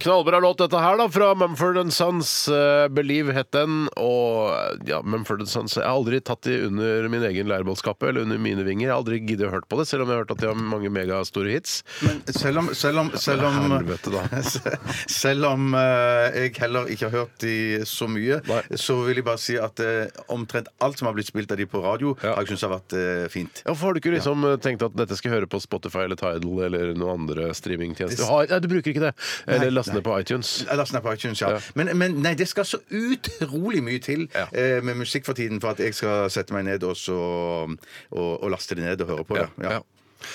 Knallbra låt dette her da, fra Mumford Sons. eh, Believe het den. Og eh, ja, Mumford Sons Jeg har aldri tatt de under min egen leirbålskappe eller under mine vinger. Jeg har aldri giddet å hørt på det, selv om jeg har hørt at de har mange megastore hits. Men selv om Selv om, selv om, Helvete, da. selv om eh, jeg heller ikke har hørt de så mye, Nei. så vil jeg bare si at eh, omtrent alt som har blitt spilt av de på radio, Ja. har jeg syntes har vært eh, fint. Ja, for har du ikke liksom eh, tenkt at dette skal jeg høre på Spotify eller Tidal eller noen andre streamingtjenester? Du, har, nei, du bruker ikke det. Eller last ned på iTunes. Eller snap iTunes, ja. Ja. Men, men nei, det skal så utrolig mye til Ja. eh, med musikk for tiden for at jeg skal sette meg ned og, så, og, og laste det ned og høre på. Ja. Ja. Ja.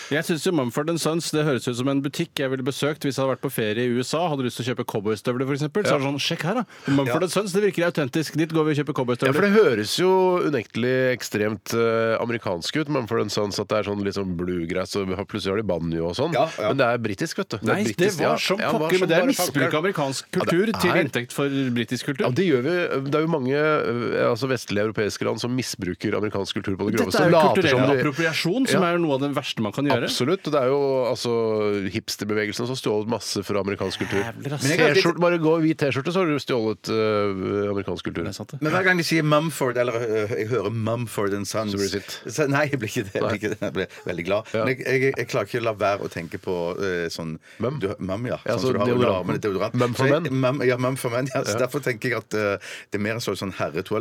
Jeg syns Mumford Sons det høres ut som en butikk jeg ville besøkt hvis jeg hadde vært på ferie i USA. Hadde lyst til å kjøpe cowboystøvler, f.eks. eksempel Så er det sånn, sjekk her, da. Mumford Sons, det virker autentisk. Dit går vi og kjøper Ja, for cowboystøvler. det høres jo unektelig ekstremt eh, amerikansk ut, men for den sans at det er sånn litt sånn bluegrass, og har- plutselig har de banjo og sånn. Ja, ja. Men det er britisk, vet du. er Nei, det britisk, ja. var som Ja, det var pokker, som men det er bare misbruk av pokker. amerikansk Ja, det kultur til er- inntekt for britisk kultur. Ja, det gjør vi. Det er jo mange eh, altså vestlige europeiske land som misbruker amerikansk kultur på det Dette groveste. er jo Later kulturell som de- appropriasjon, som Ja. er noe av det verste man kan gjøre. Absolutt. og Det er jo altså hipsterbevegelsen som har stjålet masse fra amerikansk kultur. Jævler, ass. Men jeg har litt- T-skjorte- Bare gå i hvit T-skjorte, så har du stjålet eh, amerikansk kultur. Det er sant, det. Men hver gang de sier Mumford, eller øh, jeg hører Mumford and Sons Så blir du sint. så- Nei, jeg blir ikke det. Jeg blir, ikke det. jeg blir veldig glad. Ja. Men jeg, jeg, jeg klarer ikke å la være å tenke på øh, sånn Mum? Du, mum, ja. Ja, Sånn så som du har under deodorant. armene, deodorant. Mum for Så jeg- menn? Mum, ja, mum for menn. Ja. Så Derfor tenker jeg at øh, det er mer en sånn, sånn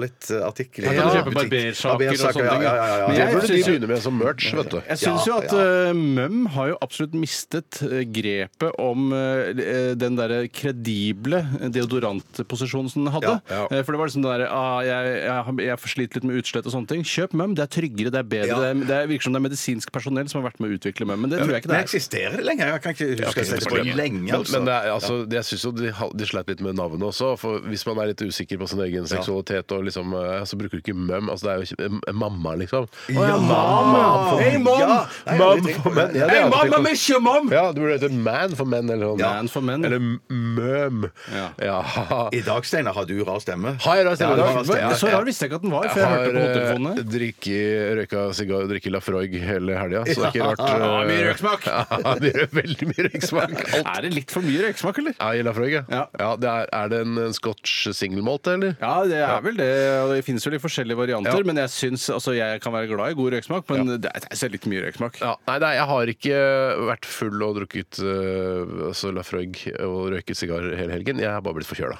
herretoalettartikkel. øh, Her kan du kjøpe barbersaker og sånne ting, Ja, ja. ja, ja, ja. Det Men jeg burde de synes jo- begynne med som merch, vet du. Jeg Ja, syns jo at ja. eh, Møm har jo absolutt mistet eh, grepet om eh, den derre kredible deodorantposisjonen som den hadde. Ja, ja. Eh, For det var liksom den derre ah, jeg, jeg, har- jeg sliter litt med utslett og sånne ting. Kjøp Møm, det er tryggere, det er bedre. Ja. Det, er, det er, virker som det er medisinsk personell som har vært med å utvikle Møm, men det tror jeg ikke Men det er. eksisterer det lenger? Jeg kan ikke huske å ha sett det på lenge. Men, altså. men det er, eh, altså, jeg syns jo de, ha- de sleit litt med navnet også. For hvis man er litt usikker på sin egen seksualitet, og liksom, eh, så bruker du ikke møm. Altså, det er jo ikke eh, mamma, liksom. Å, ja, mam! Hey, mom! Ja, nei, jeg har aldri Mam tenkt på for menn. det. Ja, det har jeg aldri tenkt på. ikke mom! Ja, det burde hete Man for menn eller noe. Ja. Man for menn. Eller m- møm. Ja. Ja. I dag, Steinar, har du rar stemme. Har jeg rar stemme i dag? Ja, du har rar stemme. Så rar visste jeg ikke at den var, Jeg for jeg har hørte på hodetelefonene. eh, drikket, røyka sigar og drikket Lafroig hele helga, så det er ikke rart. Ja, eh, mye røyksmak. Ja, det gjør veldig mye røyksmak. Alt Er det litt for mye røyksmak, eller? Ja, i Lafroig, ja. Ja. ja det er, er det en, en scotch singelmalt, eller? Ja, det er vel det. og Det finnes jo litt forskjellige varianter. Ja. Men jeg syns altså, jeg kan være glad i god røyksmak, men det er, det er litt mye røyksmak. Ja, nei, nei, jeg har ikke vært full og drukket uh, altså Lafroig og røyket sigar hele helgen. Jeg har bare blitt forkjøla.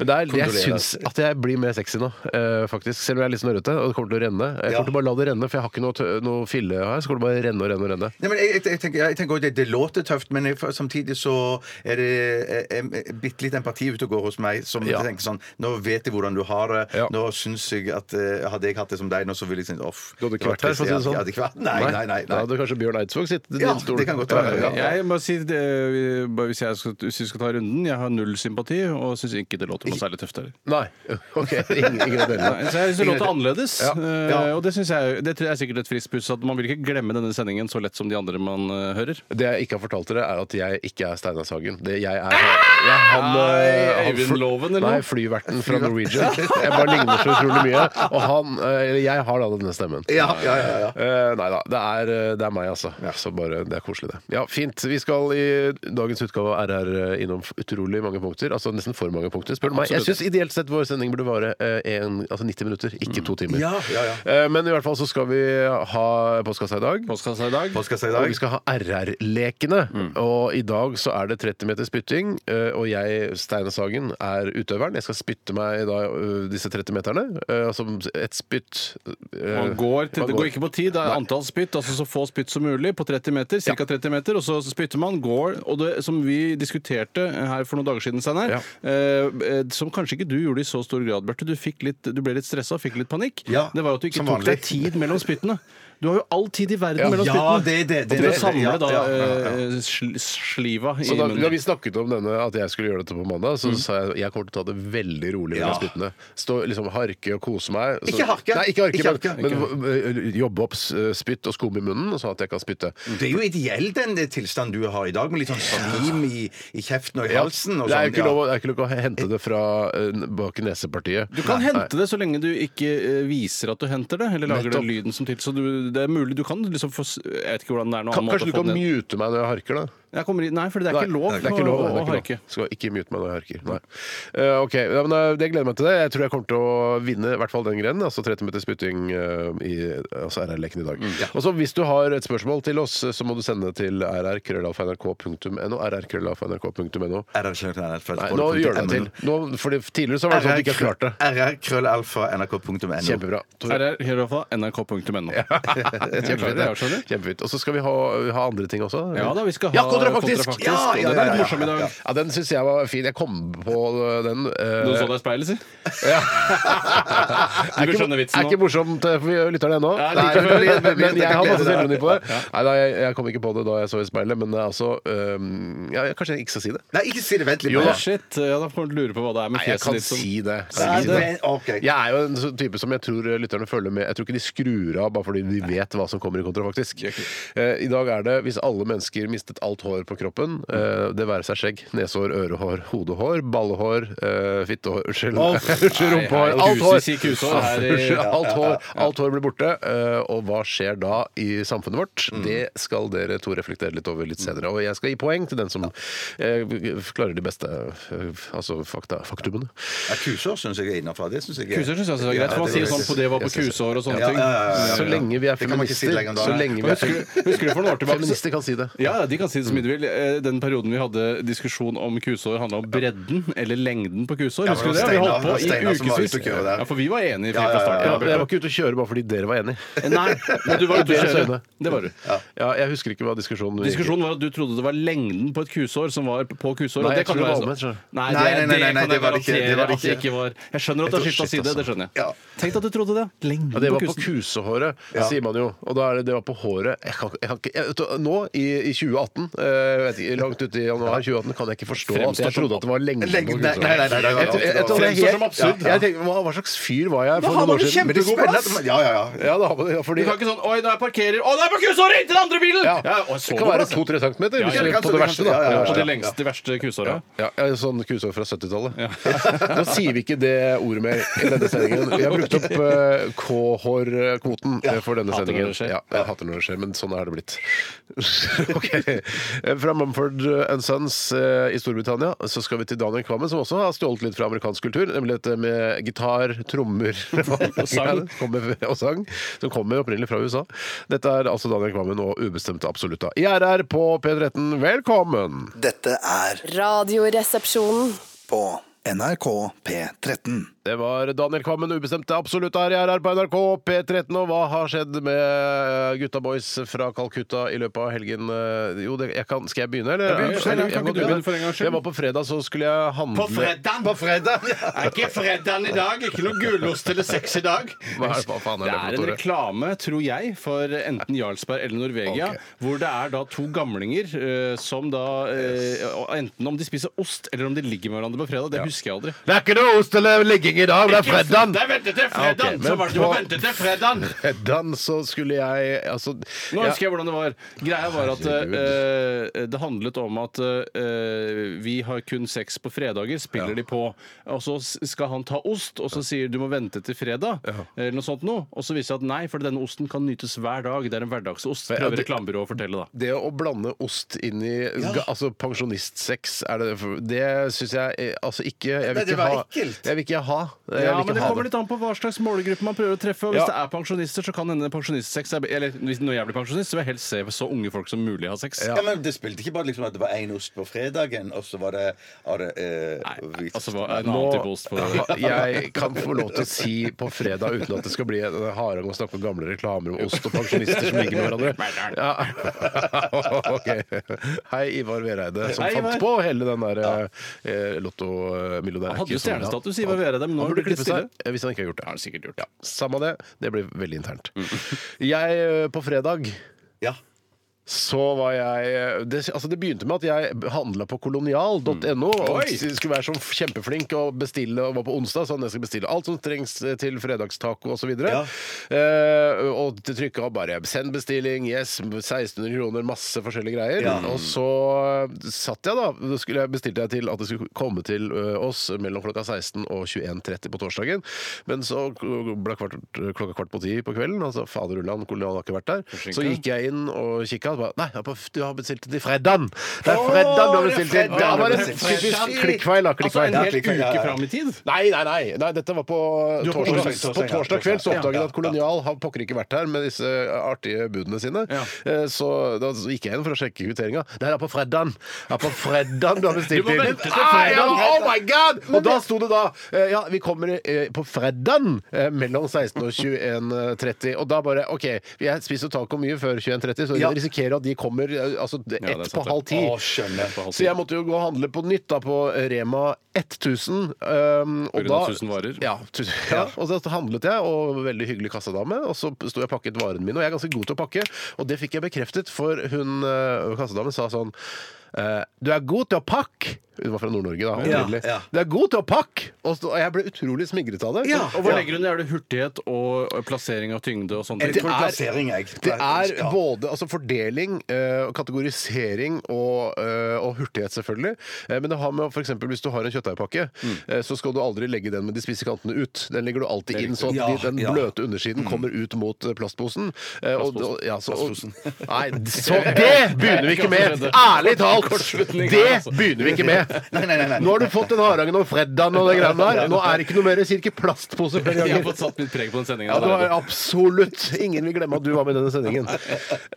Men det er, jeg kondolerer. syns at jeg blir mer sexy nå, eh, faktisk. Selv om jeg er litt snørrete og det kommer til å renne. Jeg Ja. kommer til å bare la det renne, for jeg har ikke noe, tø- noe fille her. Så kommer det bare renne og renne og renne. Nei, men jeg, jeg, jeg tenker, jeg tenker også det, det låter tøft, men jeg, samtidig så er det eh, eh, bitte litt empati ute og går hos meg, som Ja. tenker sånn Nå vet jeg hvordan du har det. Ja. Nå syns jeg at eh, Hadde jeg hatt det som deg nå, så ville jeg sånn Off. Du hadde ikke vært her, for å si det sånn. Jeg hadde ikke vært Nei, nei, nei. Da nei. hadde kanskje Bjørn Eidsvåg sittet i Ja, din stol. det kan godt være, ja. Jeg må si, det, bare hvis, jeg skal, hvis vi skal ta runden, jeg har null sympati og syns ikke det låter noe særlig tøft heller. Nei. OK. Ingen, ingen av delene. Nei, Så jeg syns det låter annerledes, Ja. eh, Ja. og det synes jeg Det tror jeg er sikkert et friskt puss at man vil ikke glemme denne sendingen så lett som de andre man eh, hører. Det jeg ikke har fortalt dere, er at jeg ikke er Steinar Sagen. Det jeg er jeg, han, eh, han Øyvind fly- Loven, eller Nei, noe? flyverten fra Norwegian. Jeg bare ligner så utrolig mye. Og han eh, Eller jeg har da denne stemmen. Ja, ja, ja, ja. Eh, nei da. Det er, eh, det er meg, altså. Så bare, Det er koselig, det. Ja, Fint. Vi skal i dagens utgave av RR eh, innom f- utrolig mange punkter. Altså nesten for mange punkter, spør du meg. Jeg syns ideelt sett vår sending burde vare eh, en, altså 90 minutter, ikke Mm. to timer. Ja, ja, ja. Eh, men i hvert fall så skal vi ha postkassa i dag. Postkassa i dag. Postkassa i Og vi dag. skal ha RR-lekene. Og i dag så er det 30 meter spytting. eh, Og jeg, Steine Sagen, er utøveren. Jeg skal spytte meg da eh, disse 30 meterne. eh, Altså et spytt eh, Man går til, man det går ikke på tid. Det er Nei. antall spytt, altså så få spytt som mulig på 30 meter. Cirka 30 meter, og så spytter man, går Og det som vi diskuterte eh, her for noen dager siden, Steinar, Ja. eh, eh, som kanskje ikke du gjorde i så stor grad, Bjarte. Du, fikk litt, du ble litt stressa, fikk litt panikk. Ja, det var jo at du ikke som tok vanlig. deg tid mellom spyttene. Du har jo all tid i verden Ja. mellom Ja, spyttene. det er det, det er og til å det, samle ja, da ja, ja, ja. eh, sl- sliva i Så da, da munnen. vi snakket om denne at jeg skulle gjøre dette på mandag, så sa jeg jeg kommer til å ta det veldig rolig med Ja. spyttene. Stå liksom harke og kose meg. Så, Ikke harke. Nei, ikke harke, eh, Ikke harke. men, men øh, jobbe opp s- eh, spytt og skum i munnen, og så at jeg kan spytte. Det er jo ideell den tilstanden du har i dag, med litt sånn slim i, i kjeften og i Ja, halsen. Og det er jo sånn, ikke ja. lov, å- det er ikke lov å hente det fra eh, bak i nesepartiet. Du kan Nei. hente det så lenge du ikke eh, viser at du henter det, eller lager Nettopp. den lyden som til. Så du, det er mulig du kan liksom få s- Jeg vet ikke hvordan det er noen Kan, annen måte kanskje du å få kan den ned. mute meg når jeg harker, da? Jeg kommer i- Nei, for det er ikke lov det er ikke lov, å- det er å ikke lov. harke. Skal ikke mute meg når jeg harker. Nei. Eh, ok, ja, men eh, Det gleder jeg meg til. det. Jeg tror jeg kommer til å vinne i hvert fall den grenen. Altså 30 meter spytting eh, i altså RR-leken i dag. Mm, Og så Hvis du har et spørsmål til oss, så må du sende det til rr.krøllalfa.nrk.no. rr.krøllalfa.nrk.no. Nei, nå gjør du deg til. Nå, for det, tidligere så var det sånn at du ikke har klart det. rrkrøllalfa.nrk.no. Kjempebra. Tore. Her er i hvert fall nrk.no. Jeg klarer det, jeg også, eller? Kjempefint. Og så skal vi ha, ha andre ting også. Ja da, vi skal ha Ja, kontrafaktisk! kontrafaktisk, Ja, og ja, den er ja, litt ja, morsom i dag. ja. Ja, den syns jeg var fin. Jeg kom på den. eh, Du så deg i speilet, si? ja. Du skjønner vitsen Er nå. ikke morsomt eh, for lytterne ennå. Ja, Nei, like før. men- men- Men jeg har masse Gleder deg. selvironi på det. Nei, nei, jeg- jeg kom ikke på det da jeg så i speilet, men det er altså eh, ja, jeg- Kanskje jeg ikke skal si det? Nei, ikke si det. Vent litt. Jo, bare. Ah, shit, ja, da får du lure på hva det er med Nei, jeg fjeset kan ditt som si det. Kan Nei, jeg ikke si det. men- ok. Jeg er jo en sånn type som jeg tror lytterne følger med. Jeg tror ikke de skrur av bare fordi de vet hva som kommer i kontra, faktisk. Eh, I dag er det hvis alle mennesker mistet alt hår på kroppen, eh, det være seg skjegg, nesehår, ørehår, hodehår, ballehår, eh, fittehår, unnskyld, unnskyld, rumpehår, nei, alt kuse- hår! si kusehår her i- Unnskyld, Alt hår, alt hår blir borte. eh, Og hva skjer da i samfunnet vårt? Det skal dere to reflektere litt over litt senere. Og jeg skal gi poeng til den som eh, klarer de beste eh, altså fakta, faktumene. Ja, kusår syns jeg er innafor. Det syns jeg er Kuser syns jeg også er greit, for man det sier er sånn på det var på Jeg synes- kusehår og sånne Ja, ting. ja, ja, ja, ja. Så lenge vi er Det kan man ikke si feminister, lenger om dagen. så lenge vi er Husker, du- husker du for noen år tilbake så- Feminister kan si det. Ja, ja, de kan si det som de vil. Eh, Den perioden vi hadde diskusjon om kusår, handla om bredden eller lengden på kusår. Ja, Husker du det det? var Steinar- Vi holdt på det var i Steinar som var ukevis. ute og kjøre der. Ja, for vi var Ja, enige fra ja, ja, starten. ja. jeg av, Bjarte. var ikke ute å kjøre bare fordi dere var enig. Nei, men du var ute Deres og kjøre. øyne. Det var du. Ja, jeg husker ikke hva diskusjonen gikk i. Diskusjonen var at du trodde det var lengden på et kusår som var på kusår. Nei, og det jeg kan tror jo det være var sånn. omvendt, skjønner Nei, Nei, nei, det, nei, det nei, kan det jeg var det ikke, det garantere var det at det ikke. ikke var Jeg skjønner at du har skifta shit, side, det altså. skjønner jeg. Ja. Tenk at du trodde det. Lengden Ja, det var på på kusår. kusehåret, sier man jo. Og da er det det var på håret. Jeg kan, jeg kan ikke, jeg, vet du, nå i, i 2018, eh, vet ikke, langt ute i januar 2018, kan jeg ikke forstå at Fremstår jeg som- trodde at det var lengden Lengden- på nei, kusehåret. nei, nei, nei, det var- Jeg tror- jeg tror det er Fremstår som helt- absurd. Ja, Jeg tenker, hva, hva slags fyr var jeg for har noen man år jo siden? kjempegod plass! Ja, ja, ja. Ja, da, har man det, ja, fordi, Du kan ikke sånn Oi, da jeg parkerer Å, det er på kusåret! Inntil den andre bilen! ja, Ja, og så det kan på være plass. to-tre centimeter hvis ja, vi- det kan- på det verste. da. ja, ja, ja. På det lengste, det verste kusåret. Ja, ja, sånn kusår fra 70-tallet. Nå sier vi ikke det ordet mer i denne sendingen. Vi har brukt opp eh, K-hårkvoten eh, for denne Hater sendingen. når det skjer. Ja, jeg hater når det skjer, men sånn er det blitt. ok. Eh, Fra Mumford and Sons eh, i Storbritannia så skal vi til Daniel Kvammen, som også har stjålet litt fra amerikansk kultur, nemlig dette med gitar, trommer og sang. Kommer, og sang. Som kommer opprinnelig fra USA. Dette er altså Daniel Kvammen og Ubestemte Absolutta. IRR på P13, velkommen! Dette er Radioresepsjonen. på NRK P13. Det var Daniel Kvammen, ubestemte absolutt her. Jeg er her på NRK P13, og hva har skjedd med eh, gutta boys fra Calcutta i løpet av helgen? Eh, Jo, det, jeg kan, skal jeg begynne, eller? begynn, Stein. Jeg Kan ikke kan du begynne. begynne for en gangs skyld? Jeg var på fredag, så skulle jeg handle På fredag! Er ikke fredagen i dag? Ikke noe gulost eller sex i dag? Hva er det- hva faen er Det det for er noe, en Tore? reklame, tror jeg, for enten Jarlsberg eller Norvegia, Ok. hvor det er da to gamlinger eh, som da eh, Enten om de spiser ost, eller om de ligger med hverandre på fredag. Det husker jeg aldri. Det er ikke noe ost eller ligging i dag, det er fredag! Det er ventet til fredagen, Ja, ok, men så var det jo på- ventet til fredagen! Fredag, så skulle jeg altså, Nå jeg- husker jeg hvordan det var. Greia var at eh, det handlet om at eh, vi har kun sex på fredager, spiller de på. Og så s- skal han ta ost, og så sier du må vente til fredag, eller noe sånt noe. Og så viser det at nei, for denne osten kan nytes hver dag. Det er en hverdagsost. Men, ja, Prøver det- reklamebyrået å fortelle, da. Det å blande ost inn i ga- altså pensjonistsex, er det, det syns jeg eh, altså ikke Jeg vil Nei, det ikke var ha. ekkelt. Jeg vil ikke ha. eh, Jeg Ja, vil men ikke Det ha kommer litt an på hva slags målgruppe man prøver å treffe. Og hvis Ja. det er pensjonister, så kan hende pensjonistsex er, Eller hvis- når jeg blir pensjonist, så vil jeg helst se så unge folk som mulig ha sex. Ja, men Det spilte ikke bare liksom at det var én ost på fredagen, og så var det, var det eh, Nei, hvit- altså, hva, en Nå- annen type ost på Ha- jeg kan få lov til å si på fredag uten at det skal bli en harang å snakke om gamle reklamer om ost og pensjonister som ligger med hverandre. Ja. Ok. Hei, Ivar Vereide, som Hei, Ivar. fant på hele den der eh, lottomillionæren. Han hadde jo stjernestatus, Ivar Vereide, men nå han har det burde blitt klippe stille. seg eh, hvis han ikke har gjort det. Har han sikkert gjort. Mm. Ja, Samme det. Det blir veldig internt. Jeg eh, på fredag Ja. så var jeg det, altså det begynte med at jeg handla på kolonial.no. Og Oi! skulle være så kjempeflink og bestille og var på onsdag, så jeg skal bestille alt som trengs eh, til fredagstaco osv. Og, Ja. så eh, og det trykka bare 'send bestilling', yes, 1600 kroner, masse forskjellige greier. Og så satt jeg, da. Da skulle jeg, bestilte jeg til at det skulle komme til ø, oss mellom klokka 16 og 21.30 på torsdagen. Men så eh, ble kvart, klokka kvart på ti på kvelden. Altså faderullan, kolonial har ikke vært der. Så gikk jeg inn og kikka. og bare, Nei, jeg bare, du har bestilt det til fredagen! Det er fredagen du har bestilt til! Ja, det var en typisk klikkfeil, da. Altså Klikkfeil. en hel Klikkfeil, ja, ja, uke ja. fram i tid? Nei, nei, nei, nei. Dette var på Du- torsdag, torsdag, torsdag, på ja. torsdag kveld. Så Ja, oppdaget ja, jeg at Kolonial har pokker ikke vært her med disse artige budene sine. Ja. Eh, Så da gikk jeg inn for å sjekke kvitteringa. Det her er på fredagen! Det er på fredagen du har bestilt Du må inn! vente Ah, til ja, fredagen. oh my god! Og da sto det da eh, Ja, vi kommer eh, på fredagen eh, mellom 16 og 21.30. Og da bare OK, jeg spiser taco mye før 21.30, så jeg risikerer at de kommer eh, altså er ett på sant, det. halv ti. Å, skjønner. Så jeg måtte jo gå og handle på nytt da på Rema 1000. Um, På grunn av 1000 varer? Ja, tu- ja. Og så handlet jeg, og veldig hyggelig kassadame. Og så sto jeg og pakket varene mine, og jeg er ganske god til å pakke. Og det fikk jeg bekreftet, for hun eh, kassadamen sa sånn eh, du er god til å pakke! Hun var fra Nord-Norge, da. Ja, opprinnelig. ja. Du er god til å pakke! Og så- og jeg ble utrolig smigret av det. Ja. Og hva legger hun i er det hurtighet og plassering av tyngde og sånne Jeg ting? tror plassering, jeg. Det er Ja. både altså fordeling, eh, og kategorisering og, eh, og hurtighet, selvfølgelig. Eh, Men det har med f.eks. hvis du har en kjøttdeigpakke, Mm. eh, så skal du aldri legge den med de spisse kantene ut. Den legger du alltid inn, så at Ja, de- den ja. Mm. bløte undersiden kommer ut mot eh, plastposen. Eh, og- og- ja, så- og- Plastposen. altså. Nei, så det begynner vi ikke med! Ærlig talt! Kortslutning her, Det altså. begynner vi ikke med! Nei, nei, nei, nei. Nå har du fått den harangen om fredagen og det greiene der. Nå er det ikke noe mer cirka plastpose flere Jeg har ganger. fått satt mitt preg på den sendinga. Ja, det var absolutt Ingen vil glemme at du var med i denne sendingen.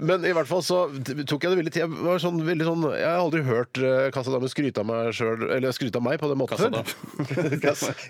Men i hvert fall så tok jeg det veldig til. Jeg, var sånn, veldig sånn, jeg har aldri hørt uh, kassadamen skryte av meg selv, eller skryte av meg på den måten før.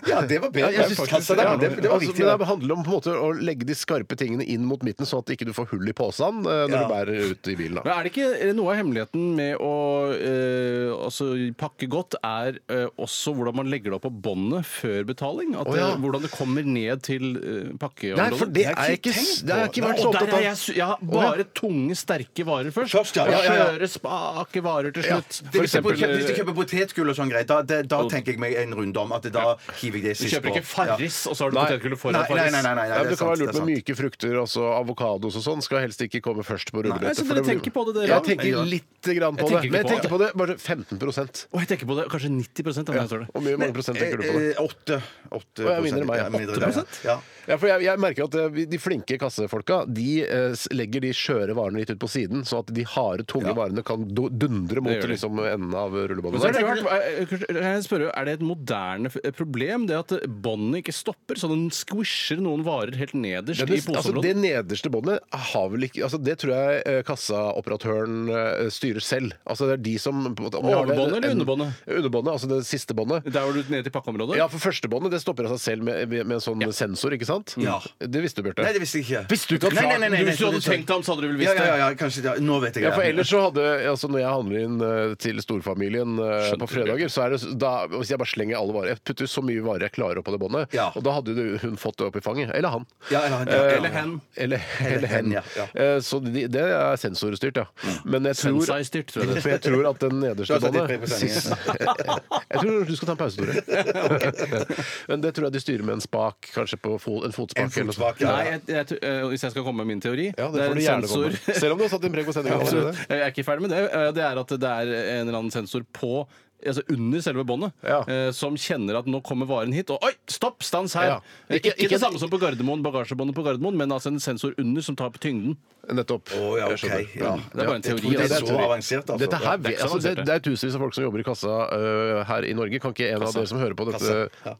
Ja, det var bedre. Ja, jeg synes- Kassadame, det, det var altså, riktig. men det handler om på en måte å legge de skarpe tingene inn mot midten, sånn at ikke du får hull i posen eh, når Ja. du bærer ut i bilen. Da. Men er det ikke noe av hemmeligheten med å eh, altså, pakke godt, er eh, også hvordan man legger det opp på båndet før betaling? At, Å, ja. eh, hvordan det kommer ned til eh, Nei, pakkeområdet? for det Jeg har er ikke ikke, tenkt det har jeg på. ikke vært så Og der opptatt er av. jeg, su- jeg har bare tunge, sterke varer først. Først, ja, ja, ja, ja. Og kjøre spake varer til slutt. Hvis For du kjøper- eksempel, liksom Hvis du eh, kjøper potetgull og sånn greit, da, det- da tenker jeg meg en runde om. At det, da hiver jeg det du sist kjøper på. ikke Farris, og så har du Nei. potetgullet Ja. foran Nei, nei, Farris. nei, nei, nei, Ja, det, det er kan sant. være Det er lurt med sant. myke frukter. Altså Avokados og sånn skal helst ikke komme først på Nei, rullebrettet. så for dere det blir- tenker på det, dere? Jeg tenker litt grann på Jeg det. tenker Men jeg ikke tenker på på det bare 15 prosent. Å, jeg tenker på det. Kanskje 90 av meg, tror det. Hvor mye mange prosent tenker du på det? Eh, eh, Åtte. Åtte Å, ja, mindre enn meg, ja. prosent. Mindre enn deg, ja. Ja. Ja, for jeg, jeg merker at eh, vi- De flinke kassefolka de eh, s- legger de skjøre varene litt ut på siden, så at de harde, tunge varene kan du- dundre mot Det gjør de. liksom, enden av rullebåndet. Men så er det der. rart, eh, kanskje- kan jeg spørre, er det et moderne f- problem det at båndet ikke stopper, så den squisher noen varer helt nederst Ja, i det, altså, det poseområdet? nederste båndet har vel ikke altså, Det tror jeg eh, kassaoperatøren eh, styrer selv. Altså, det er de som på en måte- om de har det- Overbåndet eller en- underbåndet? Underbåndet, altså det siste båndet. Der var du nede til pakkeområdet? Ja, for førstebåndet det stopper av seg selv med, med med en sånn sensor, ikke sant? Ja. Det visste du, Bjørte. Nei, det visste jeg ikke. Visste du ikke at- Nei, nei, nei, nei, Hvis du nei, hadde sorry, tenkt deg om, så hadde du vel sorry. ja, visst ja, det. ja, kanskje det. Nå vet jeg Ja, det. for ellers så hadde altså Når jeg handler inn eh, til storfamilien eh, på fredager, så er det s- da, Hvis jeg bare slenger alle varer Jeg putter så mye varer jeg klarer opp på det båndet, Ja. og da hadde du- hun fått det opp i fanget. Eller han. Ja, eller han, ja, Eh, eller hen. Eller, eller hen. ja, ja. Mm. Eh, Så de, det er sensorstyrt, ja. Men jeg tror Sensei-styrt, tror jeg det For jeg tror at den nederste Da satt jeg tre båndet på sendingen. sist- Jeg tror du skal ta en pause, Tore. Men det tror jeg de styrer med en spak, kanskje på fo- en fotspak. En eller noe fotspak, sånt. ja. Nei, jeg, jeg, tror- eh, hvis jeg skal komme med min teori Ja, det, får du gjerne komme med. Selv om du har satt din preg på sendinga. Absolutt. Jeg er ikke ferdig med det. Eh, Det er at det er en eller annen sensor på Altså under selve båndet, Ja. eh, som kjenner at nå kommer varen hit. Og oi, stopp! Stans her! Ja. Eh, Ikke, Ikke- ikke ikke- det samme som på Gardermoen, bagasjebåndet på Gardermoen, men altså en sensor under som tar på tyngden. Nettopp. Å, ja, Jeg skjønner. ok, ja. Det er bare en teori. Det er altså. så avansert, altså. Dette her, Det er ikke så altså, det, avansert, det. det er tusenvis av folk som jobber i kassa øh, her i Norge. Kan ikke en av dere som hører på dette Kasse. Ja.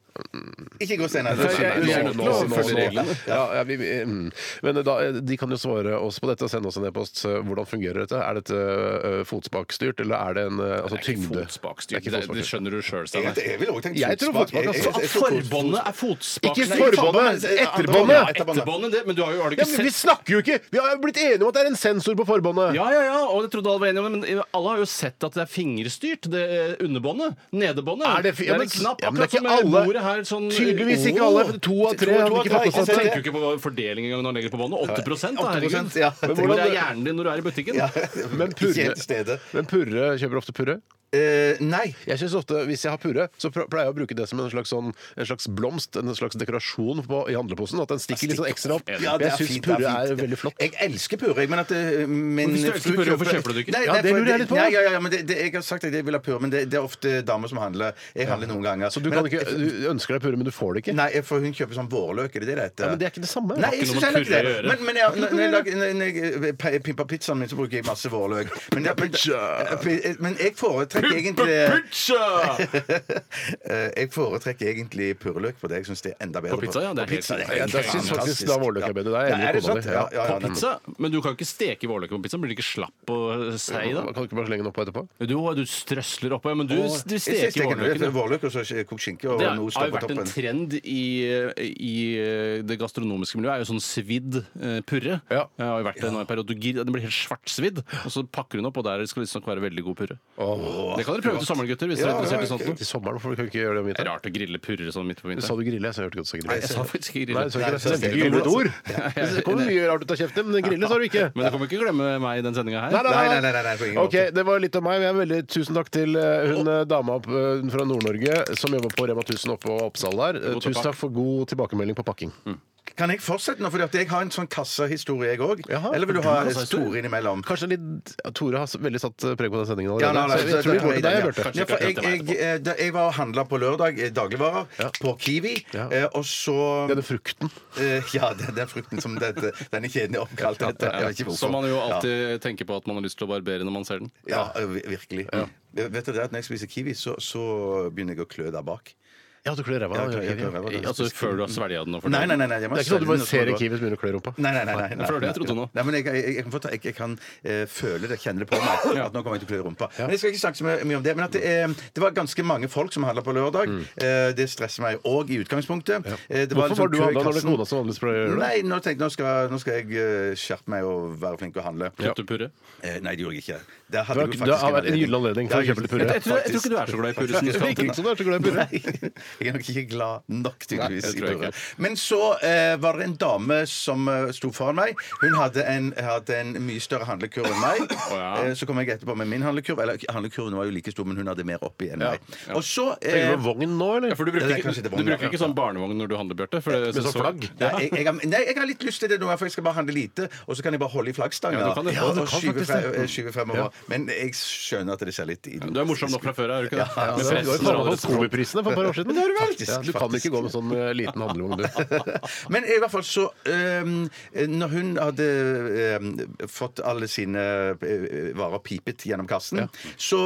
Ikke gå, Steinar. Nei, jeg- Nå- jeg er nå- nødt til nå- å nå- følge nå- reglene. Ja, ja, vi, vi- mm. Men da, de kan jo svare oss på dette og sende oss en e-post. Hvordan fungerer dette? Er dette øh, fotspakstyrt, eller er det en øh, altså, Det er ikke tyngde? Det er ikke stygt. Det, fotballkjørt. det skjønner du sjøl, Jeg, Steinar. jeg vil også tenke Jeg tror fotsmak. fotsmak, altså. Jeg- jeg- jeg tror Forbåndet fotsmak. er fotspaken. Ikke Nei, forbåndet, faen, men- etterbåndet. Ja, etterbåndet, det, men du har jo har du Ja, ikke men vi sett snakker jo ikke! Vi har blitt enige om at det er en sensor på forbåndet. ja, ja, ja, og jeg trodde alle var enige om det, men alle har jo sett at det er fingerstyrt, det eh, underbåndet. Nedebåndet. Er det fi- ja, er men- en knapp, ja, men det er akkurat ikke som eh, alle- bordet her. Sånn, Tydeligvis ikke Åh, alle. To av tre to hadde ikke fått av tre ikke med altså, seg Jeg sett det. tenker jo ikke på fordeling engang når han legger på båndet. 8 da, 8%, herregud. ja. Men Hvor er hjernen din når du er i butikken? Ja, Men Ikke helt til purre, stede. men purre kjøper ofte purre. Eh, nei. Jeg synes ofte, Hvis jeg har purre, så pr- pleier jeg å bruke det som en slags, sånn, en slags blomst, en slags dekorasjon på, i handleposen. At den stikker litt sånn ekstra opp. Ja, det jeg syns fint, det purre fint. er veldig flott. Jeg elsker purre. jeg, Men at eh, min Hvorfor elsker fru purre? Hvorfor kjøper du det ikke? Nei, Ja, nei, det for lurer jeg litt på. Nei, ja, ja, men det, det, jeg har sagt at jeg vil ha purre, men det, det er ofte damer som handler. Jeg handler noen ganger. Så du, Men kan at- ikke, du ønsker deg purre, men du får det ikke? Nei, for hun kjøper sånn vårløk, er det det det heter? Ja, men det er ikke det samme. Nei, jeg Det har syns ikke noe heller med ikke purre det. å gjøre. Men, men jeg, når, når jeg lager- når- når jeg eh, pe- pimper pizzaen min, så bruker jeg masse vårløk. Men, men, eh, men, men jeg foretrekker egentlig Eh, Jeg foretrekker egentlig purreløk på det. Jeg syns det er enda bedre. På pizza, ja, det er På pizza, helt- det er Ja, da synes faktisk fantastisk. da vårløk er bedre. Da er jeg enig Ja, med det kona sant? di. Ja, ja, ja, På pizza? Men du kan jo ikke steke vårløk på pizza. Blir det ikke slapp og seig da? Kan du ikke bare slenge den oppå etterpå? Du, du strøsler oppå, ja, men du, du Jeg steker steker vårløk, vårløkene. vårløk og så kokt skinke og Det er, noe har står jo på vært en toppen. trend i, i eh, det gastronomiske miljøet. er jo sånn svidd eh, purre. Ja. Det har jo vært det nå en periode. Du gir- Den blir helt svartsvidd, og så pakker hun opp, og der skal det visstnok være veldig god purre. det kan dere prøve til sommeren, gutter, hvis dere er interessert i sånt. noe. Til sommeren, hvorfor kan vi ikke gjøre det om Det er vinteren? rart å grille purre sånn midt på Sa vinteren. du grille? Jeg sa jeg hørte godt du sa grille. Jeg sa faktisk ikke Nei, grille. du sa ikke det. Nei, jeg Det sa er ikke grille. et ord. Det kommer mye rart ut av kjeften, men grille sa du ikke. Men du kommer ikke glemme meg i den sendinga her. Nei, nei, nei, nei, på ingen Ok, Det var litt om meg. men Jeg er veldig Tusen takk til eh, hun eh, dama opp, eh, fra Nord-Norge som jobber på Rema 1000 oppe på Oppsal der. Eh, God Tusen tilbake. takk for god tilbakemelding på pakking. Mm. Kan jeg fortsette nå? Fordi at jeg har en sånn kassahistorie, jeg òg. Jaha. Eller vil du ha store innimellom? Kanskje litt ja, Tore har s- veldig satt eh, preg på den sendingen Ja, allerede. nei, nei, så jeg tror vi går til deg, ja. Bjarte. Ja, for jeg, jeg, eh, da- jeg var og handla på lørdag eh, dagligvarer Ja. på Kiwi, Ja. eh, og så Denne frukten. Eh, Ja, det det er frukten som dette, denne kjeden er oppkalt etter. Jeg vet ikke hvorfor. Som man jo alltid tenker på at man har lyst til å barbere når man ser den. Ja, ja vi- virkelig. Vet du det at Når jeg spiser kiwi, så, så begynner jeg å klø der bak. Ja, du klør ræva. Ja, ja, jeg ja, klør ja. ræva, Det da. Altså før du har svelga den. og fordøyd Nei, nei, den. nei. nei jeg må er ikke sånn at du svelge den, bare og så må ser du en bare- kiwi som begynner å klø i rumpa. Nei, nei, nei. nei, nei, for det var det jeg trodde nå. Nei, men jeg, jeg, jeg, kan få ta, jeg, jeg kan eh, føle det, kjenne det på meg, at nå kommer jeg til å klø i rumpa. Men Jeg skal ikke snakke så mye, mye om det. Men at Mm. det, eh, det var ganske mange folk som handla på lørdag. Eh, det stresser meg òg i utgangspunktet. Eh, det Hvorfor liksom var du kø i handla når det kassen. er kona som vanligvis pleier å gjøre det? Nei, nå tenkte jeg nå skal, nå skal jeg eh, skjerpe meg og være flink til å handle. Kjøpte du purre? Eh, nei, det gjorde jeg ikke. Du har- Det hadde jeg jo du faktisk har vært en gyllen anledning til å Ja, kjøpe litt purre. Jeg tror, jeg tror ikke du er så glad i purre. Det Skulle virker ikke som du er så glad i purre. Nei, jeg er nok ikke glad nok, tydeligvis. Nei, det i tror jeg purre. Men så eh, var det en dame som eh, sto foran meg. Hun hadde en, hadde en mye større handlekurv enn meg. ja. eh, så kom jeg etterpå med min handlekurv. Eller handlekurven var jo like stor, men hun hadde mer oppi enn meg. Og så eh, Tenker du på vogn nå, eller? Ja, for du Det bruker, er ikke, kanskje det du vogn, bruker ja. ikke sånn barnevogn når du handler, Bjarte. for det- Med sånn flagg? ja, jeg, jeg, har- nei, jeg har litt lyst til det nå, for jeg skal bare handle lite. Og så kan jeg bare holde i flaggstangen Ja, du kan da, og, det. Ja, og du kan skyve, faktisk fre, det. eh, skyve fremover. Men jeg skjønner at det ser litt idiotisk Du er morsom nok fra før, er du ikke det? Ja, Ja, ja, Med det var jo pressen faen og meg alle på Kobe-prisene for et par år siden. Faktisk, Ja, du kan faktisk. ikke gå med sånn eh, liten handlevogn, du. Men i hvert fall så øhm, Når hun hadde øhm, fått alle sine øh, varer pipet gjennom kassen, så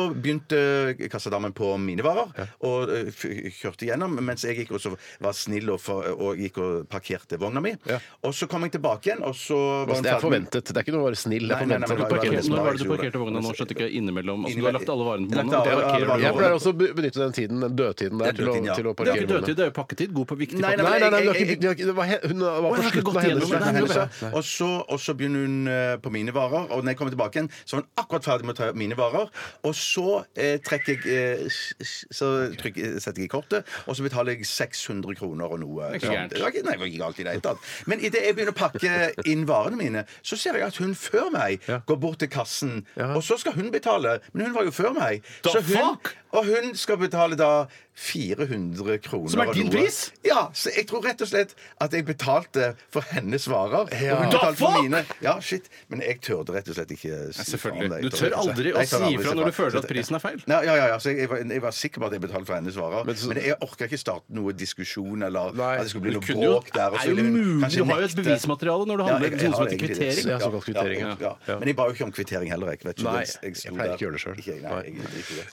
begynte kassadamen på mine varer og øh, f- kjørte gjennom, mens jeg gikk og så var snill og, for, og gikk og parkerte vogna mi. Ja. Og så kom jeg tilbake igjen, og så var hun Altså, Det er ferdig med- forventet. Det er ikke noe å være snill. Det Nei, er nei, nei, forventet. at men du det var- parkerer det Når sånn. var det du parkerte vognene nå? Skjønte ikke jeg innimellom. Altså, du har lagt alle varene Lagt på vognen. alle- Du alle parkerer varene. Jeg dem. pleier også å be- benytte den tiden, den dødtiden der, Den til å, dødtiden, ja. til å Det er jo parkere ikke dødtid, vognene. det er jo pakketid. God på viktig Nei, pakke. nei, Nei, nei, nei, det var Jeg- ikke, det var ikke, det var, he- hun var har på ikke slutten gått av hennes gjennom det. slutten av Nei, hennes- hendelser. Og så, og så begynner hun eh, på mine varer, og når jeg kommer tilbake igjen, så er hun akkurat ferdig med å ta mine varer. Og så eh, trekker jeg eh, s- s- Så trykker, setter jeg i kortet, og så betaler jeg 600 kroner og noe. Det er ikke gærent. Det var ikke, nei, det var ikke galt i det hele tatt. Men idet jeg begynner å pakke inn varene mine, så ser jeg at hun før meg går bort til kassen, Ja. og så skal hun betale. Men hun var jo før meg. Da Så hun, fuck! og hun skal betale da 400 kroner. Som er og din noe. pris? Ja, så jeg tror rett og slett at jeg betalte for hennes varer. Og hun Da betalte for fuck! mine. Ja, shit. Men jeg tørde rett og slett ikke si fra om det. Selvfølgelig. Jeg Du tør rett og slett- aldri Nei, å jeg tør si aldri ifra når du føler Så- at prisen er feil. Nei, ja, ja, ja. Så jeg, jeg, var, jeg var sikker på at jeg betalte for hennes varer. Men, så- jeg orka ikke starte noe diskusjon eller Nei, at det skulle bli Du noe kunne jo, bråk der. og det så er jo ville hun mulig, kanskje du har jo et nekte. bevismateriale når du Ja, handler. jeg- jeg Noe som har egentlig heter det. kvittering. Ja, såkalt kvittering, ja. ja. Ja. Men jeg ba jo ikke om kvittering heller. Jeg, vet ikke. Nei, jeg, sto jeg pleier der. ikke å gjøre det selv. Ikke jeg, Nei, jeg, jeg,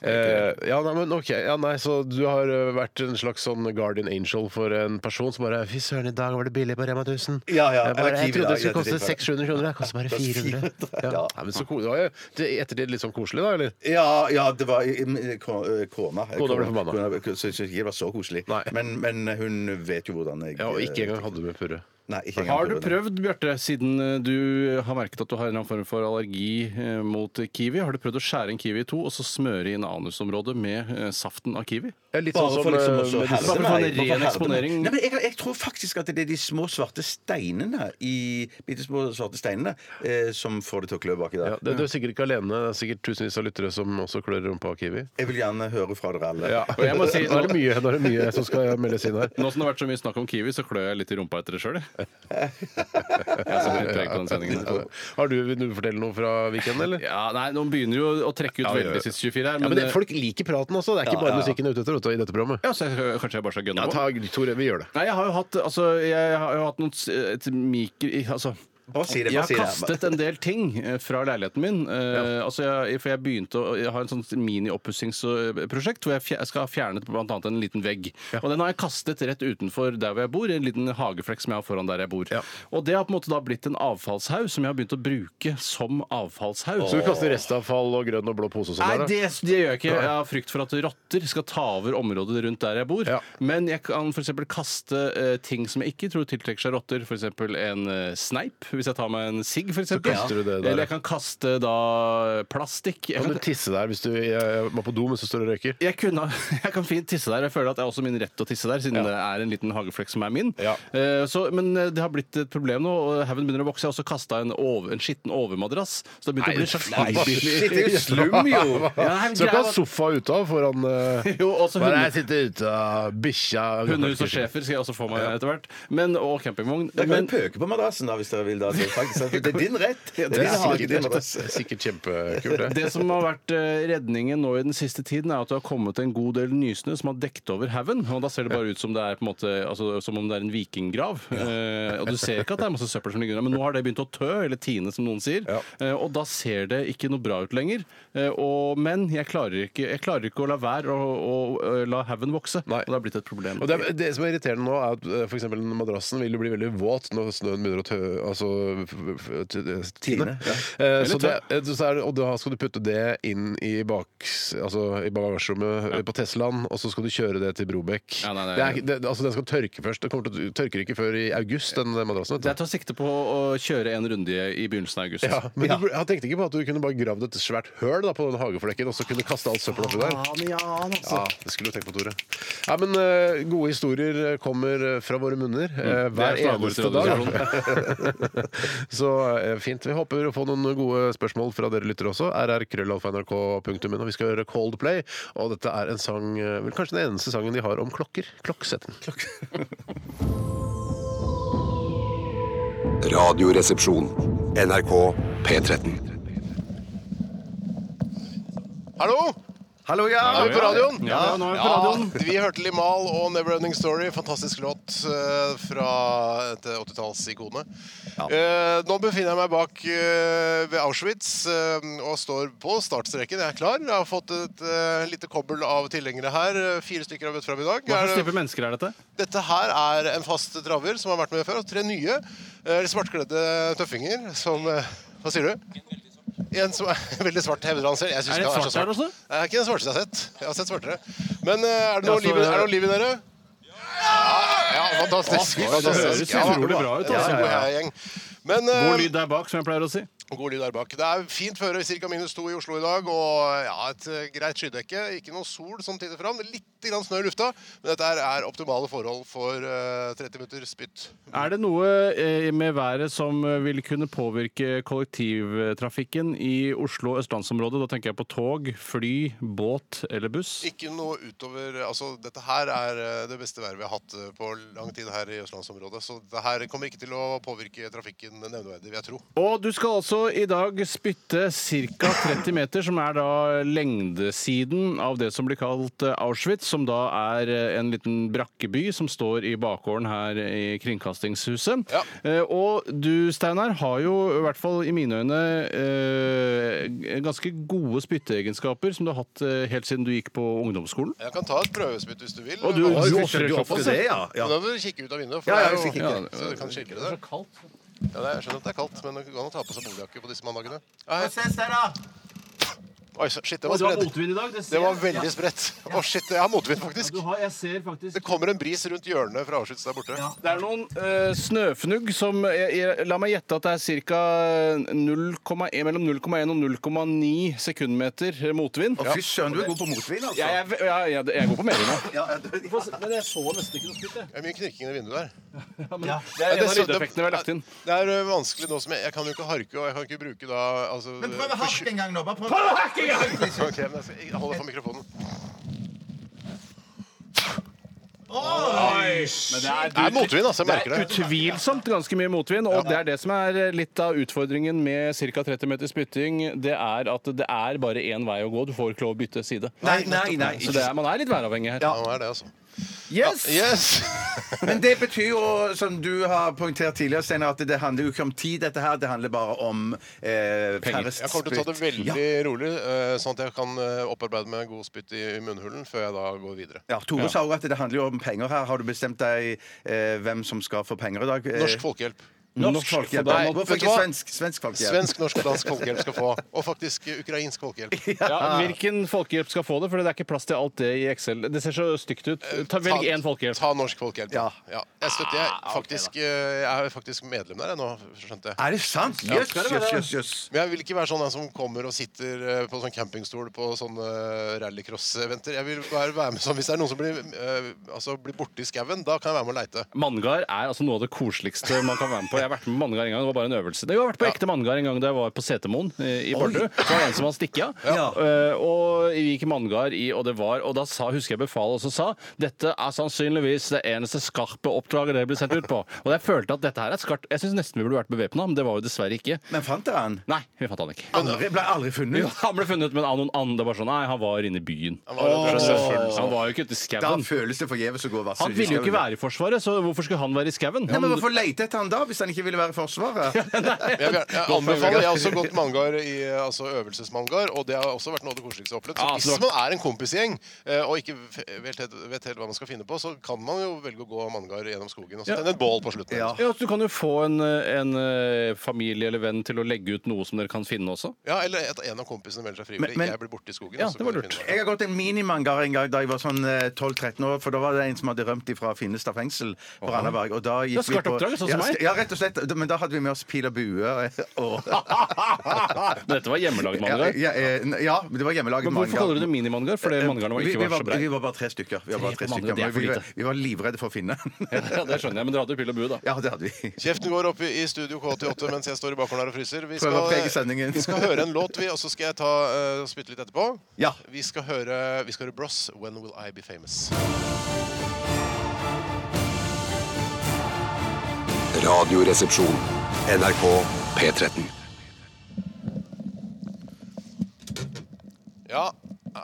jeg, jeg, Eh, jeg, ja, nei, men ok. Ja, nei, så du har eh, vært en slags sånn guardian angel for en person som bare Fy søren, i dag var det billig på Rema 1000. Ja, ja, jeg, bare, eller jeg Kiwi, trodde det da, i skulle koste ettertid. 600 kroner, det koster bare 400. Ja. Ja. Nei, men så ko- det var jo til- i ettertid litt sånn koselig, da, eller? Ja, ja, det var i- i- ko- eh, kona. Kona ble forbanna. Kona- Så så- så ikke det var så koselig. Nei. Men, men hun vet jo hvordan jeg eh, Ja, og ikke engang hadde du med purre. Nei, ikke engang Har du prøvde. prøvd, Bjarte, siden eh, du har merket at du har en eller annen form for allergi eh, mot kiwi, har du prøvd å skjære en kiwi i to og så smøre inn anusområdet med eh, saften av kiwi? Ja, litt Bare sånn som for liksom å eh, så medisin- herde Bare for å få meg. en Bare ren for å herde eksponering. meg. Nei, men jeg, jeg tror faktisk at det er de små svarte steinene i, bitte små svarte steinene eh, som får det til å klø baki der. ja, det, Du er sikkert ikke alene. Det er sikkert tusenvis av lyttere som også klør rumpa av Kiwi. Jeg vil gjerne høre fra dere alle. Og jeg må si, nå er det mye, nå er det mye som skal meldes inn her. Nå som det har vært så mye snakk om kiwi, så klør jeg litt i rumpa etter det sjøl, jeg. Jeg som litt preg på den sendingen. Har du, vil du fortelle noe fra weekenden, eller? Ja, nei, nå begynner jo å trekke ut Ja, ja, ja. veldig sist 24 Ja, her, men, eh, men det, folk liker praten også. Det er ikke bare musikken jeg er ute etter vet du, i dette programmet. ja, så jeg, kanskje jeg bare skal Ja, gønne på. ta, Tore, vi gjør det. Nei, jeg har jo hatt, altså, jeg har jo hatt noen s- et mikro... i- Altså, Bare si det, bare jeg har si det. kastet en del ting eh, fra leiligheten min. eh, altså jeg, for jeg begynte å jeg har en sånn mini-oppussingsprosjekt hvor jeg, fjer, jeg skal ha fjernet bl.a. en liten vegg. Og den har jeg kastet rett utenfor der hvor jeg bor, i en liten hageflekk som jeg har foran der jeg bor. Ja. Og det har på en måte da blitt en avfallshaug som jeg har begynt å bruke som avfallshaug. Så du kaster restavfall og grønn og blå pose og sånn? der, Nei, da? det, det gjør jeg ikke. Jeg har frykt for at rotter skal ta over området rundt der jeg bor. Ja. Men jeg kan f.eks. kaste eh, ting som jeg ikke tror tiltrekker seg rotter. F.eks. en eh, sneip, hvis jeg tar meg en sigg. for eksempel. kaster du det der. Eller jeg kan kaste da eh, plastikk. Jeg Kan du kan, tisse der hvis du jeg var på do, men så står du og røyker? jeg, kunne, jeg kan fint tisse der. Jeg føler at det er også min rett til å tisse der, siden det er en liten hageflekk som er min. Ja. Eh, så, men eh, det har blitt et problem nå, og haugen begynner å vokse. Jeg har også kasta en, over, en skitten overmadrass, så det har begynt å bli en slags Shit, det er jo slum, jo! Ja, nei, men Så du kan greia ha var- sofa ute av foran eh, Jo, også Bare hunder- jeg sitter ute av bikkja Hundehus og schæfer skal jeg også få meg etter hvert. Men, og campingvogn. Da kan Men, du pøke på madrassen da, hvis dere vil. da. Det er, faktisk, det er din rett. Det Det er er din hage, din sikkert, madrass. det er sikkert kjempekult, det. det som har vært eh, redningen nå i den siste tiden, er at det har kommet en god del nysnø som har dekt over haugen. Og da ser det bare ut som det er på en måte, altså, som om det er en vikinggrav. Eh, og du ser ikke at det er masse søppel som ligger under, men nå har det begynt å tø, eller tine, som noen sier. Eh, og da ser det ikke noe bra ut lenger. Eh, og, men jeg klarer, ikke, jeg klarer ikke å la være å, å, eh, la haugen vokse. Nei. Og det har blitt et problem. Og det, er- det som er irriterende nå, er at eh, for eksempel madrassen vil jo bli veldig våt når snøen begynner å tø, altså, f- f- t- tine. Eh, Så det, eh, så er det, og da skal du putte det inn i, bak, altså, i bagasjerommet eh, på Teslaen, og så skal du kjøre det til Brobekk. Ja, nei, nei, det er, ikke- det, altså, den skal tørke først. Den kommer til, å- tørker ikke før i august, den madrassen. Jeg Vet du. tar sikte på å kjøre en runde i begynnelsen av august. Ja, men Du, jeg tenkte ikke på at du kunne bare gravd et svært høl da, på den hageflekken og så kunne kaste alt søppelet oppi der. Ja, det skulle du tenke på, Tore. Ja, men eh, Gode historier kommer eh, fra våre munner eh, hver Det er slagordet eneste til dag. Radioresepsjonen. Så eh, fint. Vi håper å få noen gode spørsmål fra dere lyttere også. rrkrøllalfa.nrk.no. Vi skal gjøre Coldplay, og dette er en sang eh, vel Kanskje den eneste sangen de har om klokker. Klokksetten. Radioresepsjon. NRK P13. Hallo! Hallo, ja! Er vi på radioen? Ja, ja, nå er vi på radioen. Vi hørte Limal og Neverending Story. Fantastisk låt eh, fra et 80-tallsikone. Eh, nå befinner jeg meg bak eh, ved Auschwitz eh, og står på startstreken. Jeg er klar. Jeg har fått et eh, lite kobbel av tilhengere her. Eh, Fire stykker har møtt fram i dag. Hva Er slags det- type mennesker er dette? dette her er en fast traver som har vært med før, og tre nye eh, svartkledde tøffinger som eh, Hva sier du? En som er veldig svart, hevder han selv. Jeg synes Er det ikke han svart her også? Det er ikke den svarteste jeg har sett. Jeg har sett svartere. Men eh, er det noe, Ja, så- liv, i- er det noe liv i dere? Ja! ja fantastisk. Å, fy, det høres Ja, utrolig bra ut, altså. Ja, ja, ja. Gjeng. Men, eh, God lyd der bak, som jeg pleier å si. God lyd der bak. Det er fint føre, ca. minus to i Oslo i dag, og ja, et eh, greit skydekke. Ikke noe sol som titter fram. Litt grann snø i lufta, men dette her er optimale forhold for eh, 30 minutter spytt. Er det noe eh, med været som eh, vil kunne påvirke kollektivtrafikken i Oslo og østlandsområdet? Da tenker jeg på tog, fly, båt eller buss. Ikke noe utover Altså, dette her er eh, det beste været vi har hatt eh, på lang tid her i østlandsområdet, så det her kommer ikke til å påvirke trafikken nevneverdig, vil jeg tro. Og du skal altså i dag spytte ca. 30 meter, som er da lengdesiden av det som blir kalt eh, Auschwitz, som da er eh, en liten brakkeby som står i bakgården her i Kringkastingshuset. Ja. Eh, Og du, Steinar, har jo i hvert fall i mine øyne eh, ganske gode spytteegenskaper som du har hatt eh, helt siden du gikk på ungdomsskolen. Jeg kan ta et prøvespytt hvis du vil. Og du- Men- Oi, Du du ofrer ofrer du ofrer såpass, det, ja. ja. Men Da bør du kikke ut av vinduet, for Ja, ja, det er vi skal jo, kikke. så det kan skjelke der. Ja, det er- jeg skjønner at det er kaldt, men det går an å ta på seg boligjakke på disse mandagene. Nei, ses der, da! Oi, så- shit, det var spredt. motvind i dag. Det var veldig spredt. Å, shit, jeg har motvind, faktisk. jeg ser faktisk Det kommer en bris rundt hjørnet fra Auschwitz der borte. Det er noen eh, snøfnugg som eh, jeg, jeg, La meg gjette at det er eh, ca. mellom 0,1 og 0,9 sekundmeter motvind. Å, Fy søren, du er god på motvin, altså. Jeg, jeg, jeg, jeg, jeg går på meldinga. Ja, ja, du- Men jeg så nesten ikke noe skudd. Det er mye knirking i vinduet der. Det er en av så- lydeffektene vi har lagt inn. Det er ø, vanskelig nå som jeg, jeg kan jo ikke harke, og jeg kan ikke bruke da altså, Men prøv å harke en gang nå. Bare prøv. Ok, men jeg, skal, jeg holder for mikrofonen. Men det er, Det er motvind, altså. Jeg merker det er det. utvilsomt ganske mye motvind, og det er det som er litt av utfordringen med ca. 30 meter spytting. Det er at det er bare én vei å gå. Du får ikke lov å bytte side. Nei, nei, nei. Så det er, man er litt væravhengig her. Ja, det er det, altså. Yes! Yes! Men det betyr jo, som du har poengtert tidligere, Steinar, at det handler jo ikke om tid, dette her. Det handler bare om eh, færre Jeg kommer til å ta det spytt. veldig Ja. rolig, ø, sånn at jeg kan ø, opparbeide meg god spytt i munnhulen før jeg da går videre. Ja, Tore sa jo at det handler jo om penger her. Har du bestemt deg eh, hvem som skal få penger i dag? Eh, Norsk Folkehjelp. norsk folkehjelp. Nei, vet Hvorfor du ikke hva? svensk, svensk folkehjelp? Svensk, norsk og dansk folkehjelp skal få. Og faktisk ø, ukrainsk folkehjelp. Ja, hvilken folkehjelp skal få det? For det er ikke plass til alt det i Excel. Det ser så stygt ut. Ta, velg én folkehjelp. Ta norsk folkehjelp. Ja. Ja. Jeg støtter jeg faktisk ø, Jeg er faktisk medlem der, jeg nå, skjønte jeg. Er det sant? Jøss, jøss, jøss, jøss. Men jeg vil ikke være sånn en som kommer og sitter eh, på sånn campingstol på sånne eh, rallycross-eventer. Jeg vil bare være med sånn Hvis det er noen som blir, eh, altså, blir borte i skauen, da kan jeg være med å leite. Manngard er altså noe av det koseligste man kan være med på. Jeg har vært med på Manngard en gang. Det var bare en øvelse. Jeg har vært på ekte Manngard en gang da jeg var på Setermoen eh, i Bardu. Så var det en som hadde stikket av. Ja. Eh, Og vi gikk i Manngard i, og det var Og da sa, husker jeg befalet også sa dette er sannsynligvis det eneste skarpe oppdraget dere blir sendt ut på. Og jeg følte at dette her er skarpt. Jeg syns nesten vi burde vært bevæpna, men det var jo dessverre ikke. Men fant dere han? Nei, vi fant han ikke. Aldri, ble aldri funnet? Han ble funnet, men av noen andre bare sånn Nei, han var inne i byen. Han var rett og slett full, så- Han var jo ikke ute i Da skauen. føles det forgjeves å gå vassere. Han ville jo ikke være i Forsvaret, så hvorfor skulle han være i skauen? Nei, men Han- Hvorfor lete etter han da, hvis han ikke ville være i Forsvaret? Men Jeg, vil- jeg anbefaler, jeg har også gått mangar i eh, altså, øvelsesmangar, og det har også vært noe av det koseligste jeg har opplevd. Ja, Ah, Så så hvis det var- man er en kompisgjeng eh, og ikke f- vet helt, vet helt hva man skal finne på, så kan man jo velge å gå mangar gjennom skogen og så tenne et bål på slutten. Ja. Ja, så Du kan jo få en, en eh, familie eller venn til å legge ut noe som dere kan finne også. Ja, eller at en av kompisene melder seg frivillig. Men- men- jeg blir borte i skogen. Ja, og så det kan var du lurt. finne meg. Jeg har gått en minimangar en gang da jeg var sånn eh, 12-13 år. For da var det en som hadde rømt fra Finnestad fengsel på Randaberg. Og da gikk Det er skarpt oppdrag, sånn som ja, meg. sk- Ja, rett og slett. Men da hadde vi med oss pil og bue. eh, Og, Men dette var hjemmelagd ja, mangar. ja, eh, n- ja, men det var hjemmelaget Men hvorfor kaller du det minimangar? Fordi mangaren var Eh, vi, ikke vi, var så var, brei. vi var bare tre stykker. Vi var, bare tre Tre på stykker mandag, det er men vi, for var- lite. vi var livredde for å finne Ja, det skjønner jeg, men dere hadde jo pil og bue, da. Ja, det hadde vi. Kjeften går opp i i Studio K88 mens jeg står i bakgården her og fryser. Vi eh, Prøver å prege sendingen. vi skal høre en låt, vi, og så skal jeg ta eh, og spytte litt etterpå. Ja. Vi skal høre, vi skal høre Bros, 'When Will I Be Famous'. Radioresepsjon. NRK P13. Ja,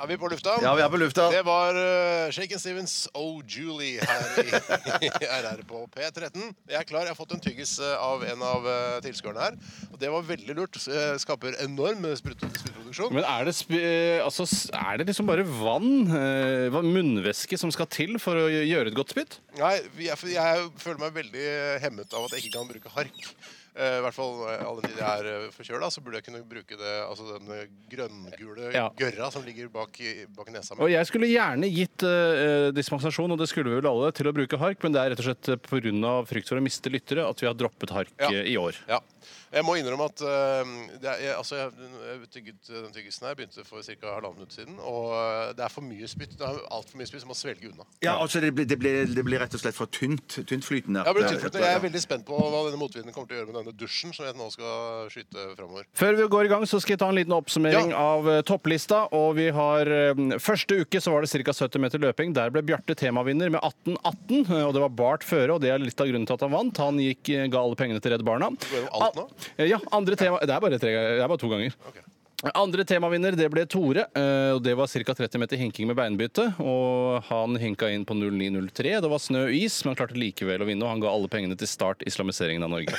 er vi på lufta? Ja, vi er på lufta. Det var uh, Shaken Stevens Oh Julie her i i RR på P13. Jeg er klar. Jeg har fått en tyggis eh, av en av eh, tilskuerne her. Og det var veldig lurt. S- eh, Skaper enorm sprut- spruttproduksjon. Men er det, sp- eh, altså, s- er det liksom bare vann, eh, hva- munnvæske, som skal til for å gjøre et godt spytt? Nei, jeg, jeg føler meg veldig eh, hemmet av at jeg ikke kan bruke hark. Eh, I hvert fall eh, all den tid jeg er eh, forkjøla, så burde jeg kunne bruke det, altså den eh, grønngule Ja. gørra som ligger bak, i- bak nesa mi. Og jeg skulle gjerne gitt eh, eh, dispensasjon, og det skulle vi vel alle, til å bruke hark, men det er rett og slett pga. frykt for å miste lyttere at vi har droppet hark Ja. eh, i år. Ja. Jeg må innrømme at eh, det er, jeg, altså, jeg, jeg tygget eh, den tyggisen her, begynte for ca. halvannet minutt siden. Og eh, det er for mye spytt. Det er altfor mye spytt, så man svelger unna. Ja, altså det blir, det, blir, det blir rett og slett for tynt. Tyntflytende. Jeg, blir tynt, jeg er veldig spent på hva denne motvinden kommer til å gjøre med denne dusjen som jeg nå skal skyte framover. Før vi går i gang, så skal jeg ta en liten oppsummering Ja. av eh, topplista. Og vi har eh, Første uke så var det ca. 70 meter løping. Der ble Bjarte temavinner med 18-18. eh, Og det var Bart føre, og det er litt av grunnen til at han vant. Han gikk eh, ga alle pengene til Redd Barna. Går gjennom alt nå? Ah, Ja, andre tema Det er bare, tre, det er bare to ganger. Andre temavinner det ble Tore. eh, og Det var ca. 30 meter hinking med beinbytte. og Han hinka inn på 09.03. Det var snø og is, men han klarte likevel å vinne. Og han ga alle pengene til Start islamiseringen av Norge.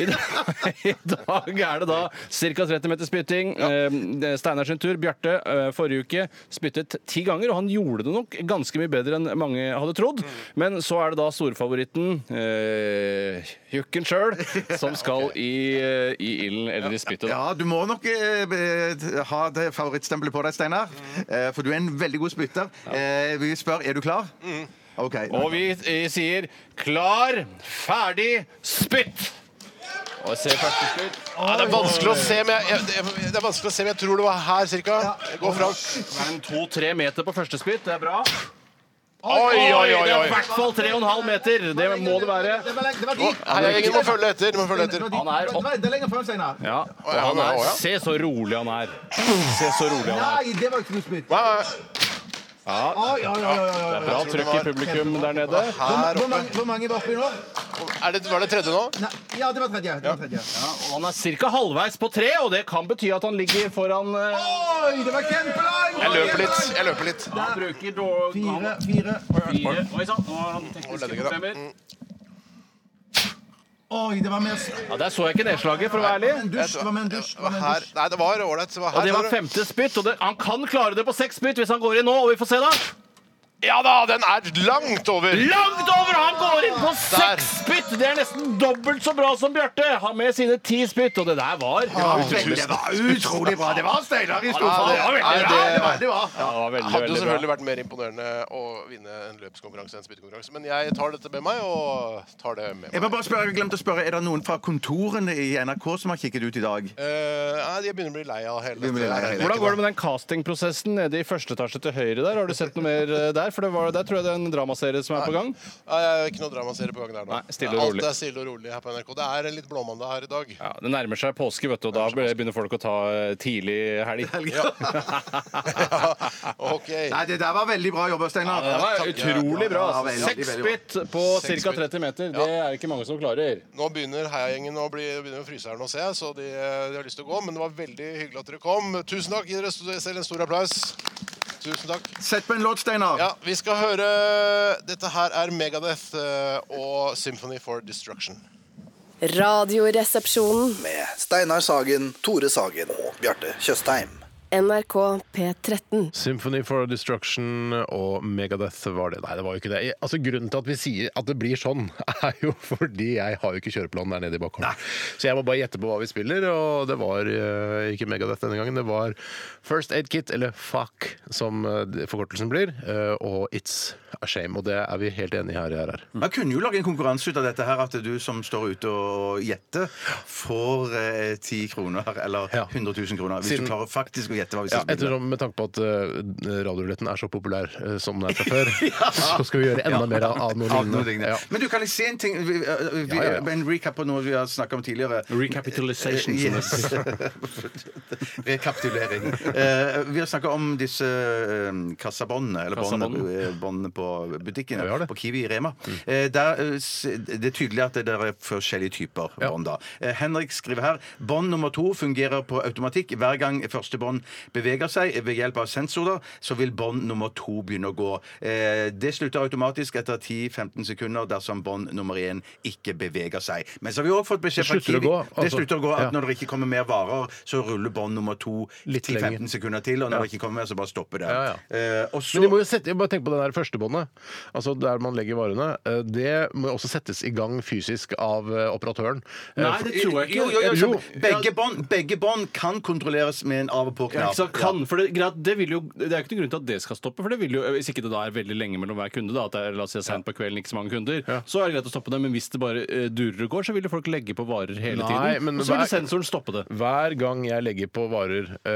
I dag, i dag er det da ca. 30 meter spytting. Eh, det er Steinar sin tur. Bjarte eh, forrige uke spyttet ti ganger, og han gjorde det nok ganske mye bedre enn mange hadde trodd. Men så er det da storfavoritten, eh, Jukken sjøl, som skal i, eh, i ilden eller i spyttet. da. Ja, du må nok eh, be- ha det favorittstempelet på deg, Steinar. Eh, for du er en veldig god spytter. Eh, vi spør er du klar. OK. Og vi eh, sier klar, ferdig, spytt! Og se første spytt. Ja, det er vanskelig å se, men jeg, jeg, jeg, det er vanskelig å se, men jeg tror det var her cirka. Gå fram. Det er en to-tre meter på første spytt. Det er bra. Oi, oi, oi. Det er i oi. hvert fall tre og en halv meter. Det må det være. Det var, det var de. Heiagjengen må følge etter. Må følge etter. Det var Han de. er Det var- Det er lenger frem, Steinar. Ja, og ja, han ja, er, ja. se så rolig han er. Se så rolig han er. Nei, det var ikke noe spytt. Nei, nei, Oi, oi, oi, oi, oi. Bra trøkk i publikum der nede. Her Hvor oppe. mange, hvor mange var oppi nå? Er det, var det tredje nå? Nei, ja, det var tredje. Det var tredje. Og han er ca. halvveis på tre, og det kan bety at han ligger foran eh, Oi, det var kjempelang! Jeg løper litt. Jeg løper litt. Han bruker dog... Fire, fire. Fire. Oi sann, nå har han tekniske legger det. problemer. Oi, det var mer s- Ja, Der så jeg ikke nedslaget, for å være ærlig. en dusj. Det var med en dusj. Det det var var med en her. dusj. Nei, det var ålreit. Det var Og her. det var tror jeg. femte spytt, og det, han kan klare det på seks spytt hvis han går inn nå. Og vi får se, da. Ja da, den er langt over. Langt over! Han går inn på Der. seks spytt! Det er nesten dobbelt så bra som Bjarte. Han med sine ti spytt, og det der var Det var, Det var utrolig bra! Det var Steinar i Ja, storfall. det- ja, det- ja, det var hadde veldig, jo veldig bra. selvfølgelig vært mer imponerende å vinne en løpskonkurranse enn spyttekonkurranse, men jeg tar dette med meg, og tar det med meg. Jeg må bare spørre, jeg glemte å spørre, Er det noen fra kontorene i NRK som har kikket ut i dag? Eh, nei, jeg begynner å bli lei av hele Begynner å bli lei av hele- Hvordan går det med den castingprosessen nede i første etasje til høyre der? Har du sett noe mer eh, der? For det var, der tror jeg det er en dramaserie som er på gang. Nei, det er ikke noe dramaserie på gang der nå. Nei, stille og rolig. Alt er stille og rolig her på NRK. Det er en litt blåmandag her i dag. Ja, Det nærmer seg påske, vet du, og da begynner folk å ta eh, tidlig helg. OK. Nei, Det der var veldig bra jobba, Steinar. Det var utrolig bra. Ja, altså. veldig, Seks veldig bra. spytt på Seks ca. spytt. 30 meter. Det er ikke mange som klarer. Nå begynner heiagjengen å bli begynner å fryse her nå, ser jeg, så de, de har lyst til å gå. Men det var veldig hyggelig at dere kom. Tusen takk. Gi dere selv en stor applaus. Tusen takk. Sett på en låt, Steinar. Ja, vi skal høre Dette her er Megadeth eh, og Symphony for Destruction. Radioresepsjonen. Med Steinar Sagen, Tore Sagen og Bjarte Tjøstheim. NRK P13. Symphony for Destruction og Megadeth var det. Nei, det var jo ikke det. Jeg- Altså, grunnen til at vi sier at det blir sånn, er jo fordi jeg har jo ikke kjøreplan der nede i bakgården. Så jeg må bare gjette på hva vi spiller, og det var eh, ikke Megadeth denne gangen. Det var First Aid Kit, eller FAK, som eh, forkortelsen blir, eh, og It's a Shame. Og det er vi helt enige her. her, her. Man kunne jo lage en konkurranse ut av dette her, at du som står ute og gjetter, får eh, 10 kroner eller Ja. 100 000 kroner. Hvis Siden- du klarer faktisk å gjette hva vi Ja, skal spille. ettersom Med tanke på at uh, radioruletten er så populær eh, som den er fra før, så skal vi gjøre enda mer av- av noe Av noe lignende. lignende. Ja. Men du, kan jeg si en ting? Vi, eh, vi, Ja, ja, ja. En recap på noe vi har snakket om tidligere. Recapitalization. Yes. Rekapitulering. Eh, vi har snakka om disse eh, kassabåndene, eller båndene Kassabåndene. eh, båndene på butikkene, Ja, vi har det. på Kiwi i Rema. Eh, der, eh, s- det er tydelig at det der er forskjellige typer bånd. da. Eh, Henrik skriver her bånd nummer to fungerer på automatikk. Hver gang første bånd beveger seg ved hjelp av sensorer, så vil bånd nummer to begynne å gå. Eh, det slutter automatisk etter 10-15 sekunder dersom bånd nummer én ikke beveger seg. Men så har vi òg fått beskjed Det fra slutter å Kiwi gå, Det altså. slutter å gå at Ja. når når det ikke kommer mer varer, så ruller bånd nummer to Litt lenger. 10-15 sekunder til. Og når det ikke kommer mer, så bare stopper det. Ja, ja. Eh, og så Men de må jo sette, jeg bare tenk på det der førstebåndet, altså der man legger varene. eh, Det må jo også settes i gang fysisk av eh, operatøren. Eh, Nei, det tror jeg ikke. Jo, jo, jo, Jo. Begge bånd- Begge bånd kan kontrolleres med en av- og Ja, på-knapp. ikke sant? Kan, for det, er greit, det, vil jo, det er jo ikke noen grunn til at det skal stoppe. For det vil jo, Hvis ikke det da er veldig lenge mellom hver kunde, da, at det er la oss si, sent på kvelden, ikke så mange kunder, så er det greit å stoppe det. Men hvis det bare eh, durer og går, så vil jo folk legge på varer hele Nei, tiden. men Og så vil hver- sensoren stoppe det. Hver gang jeg legger på varer eh,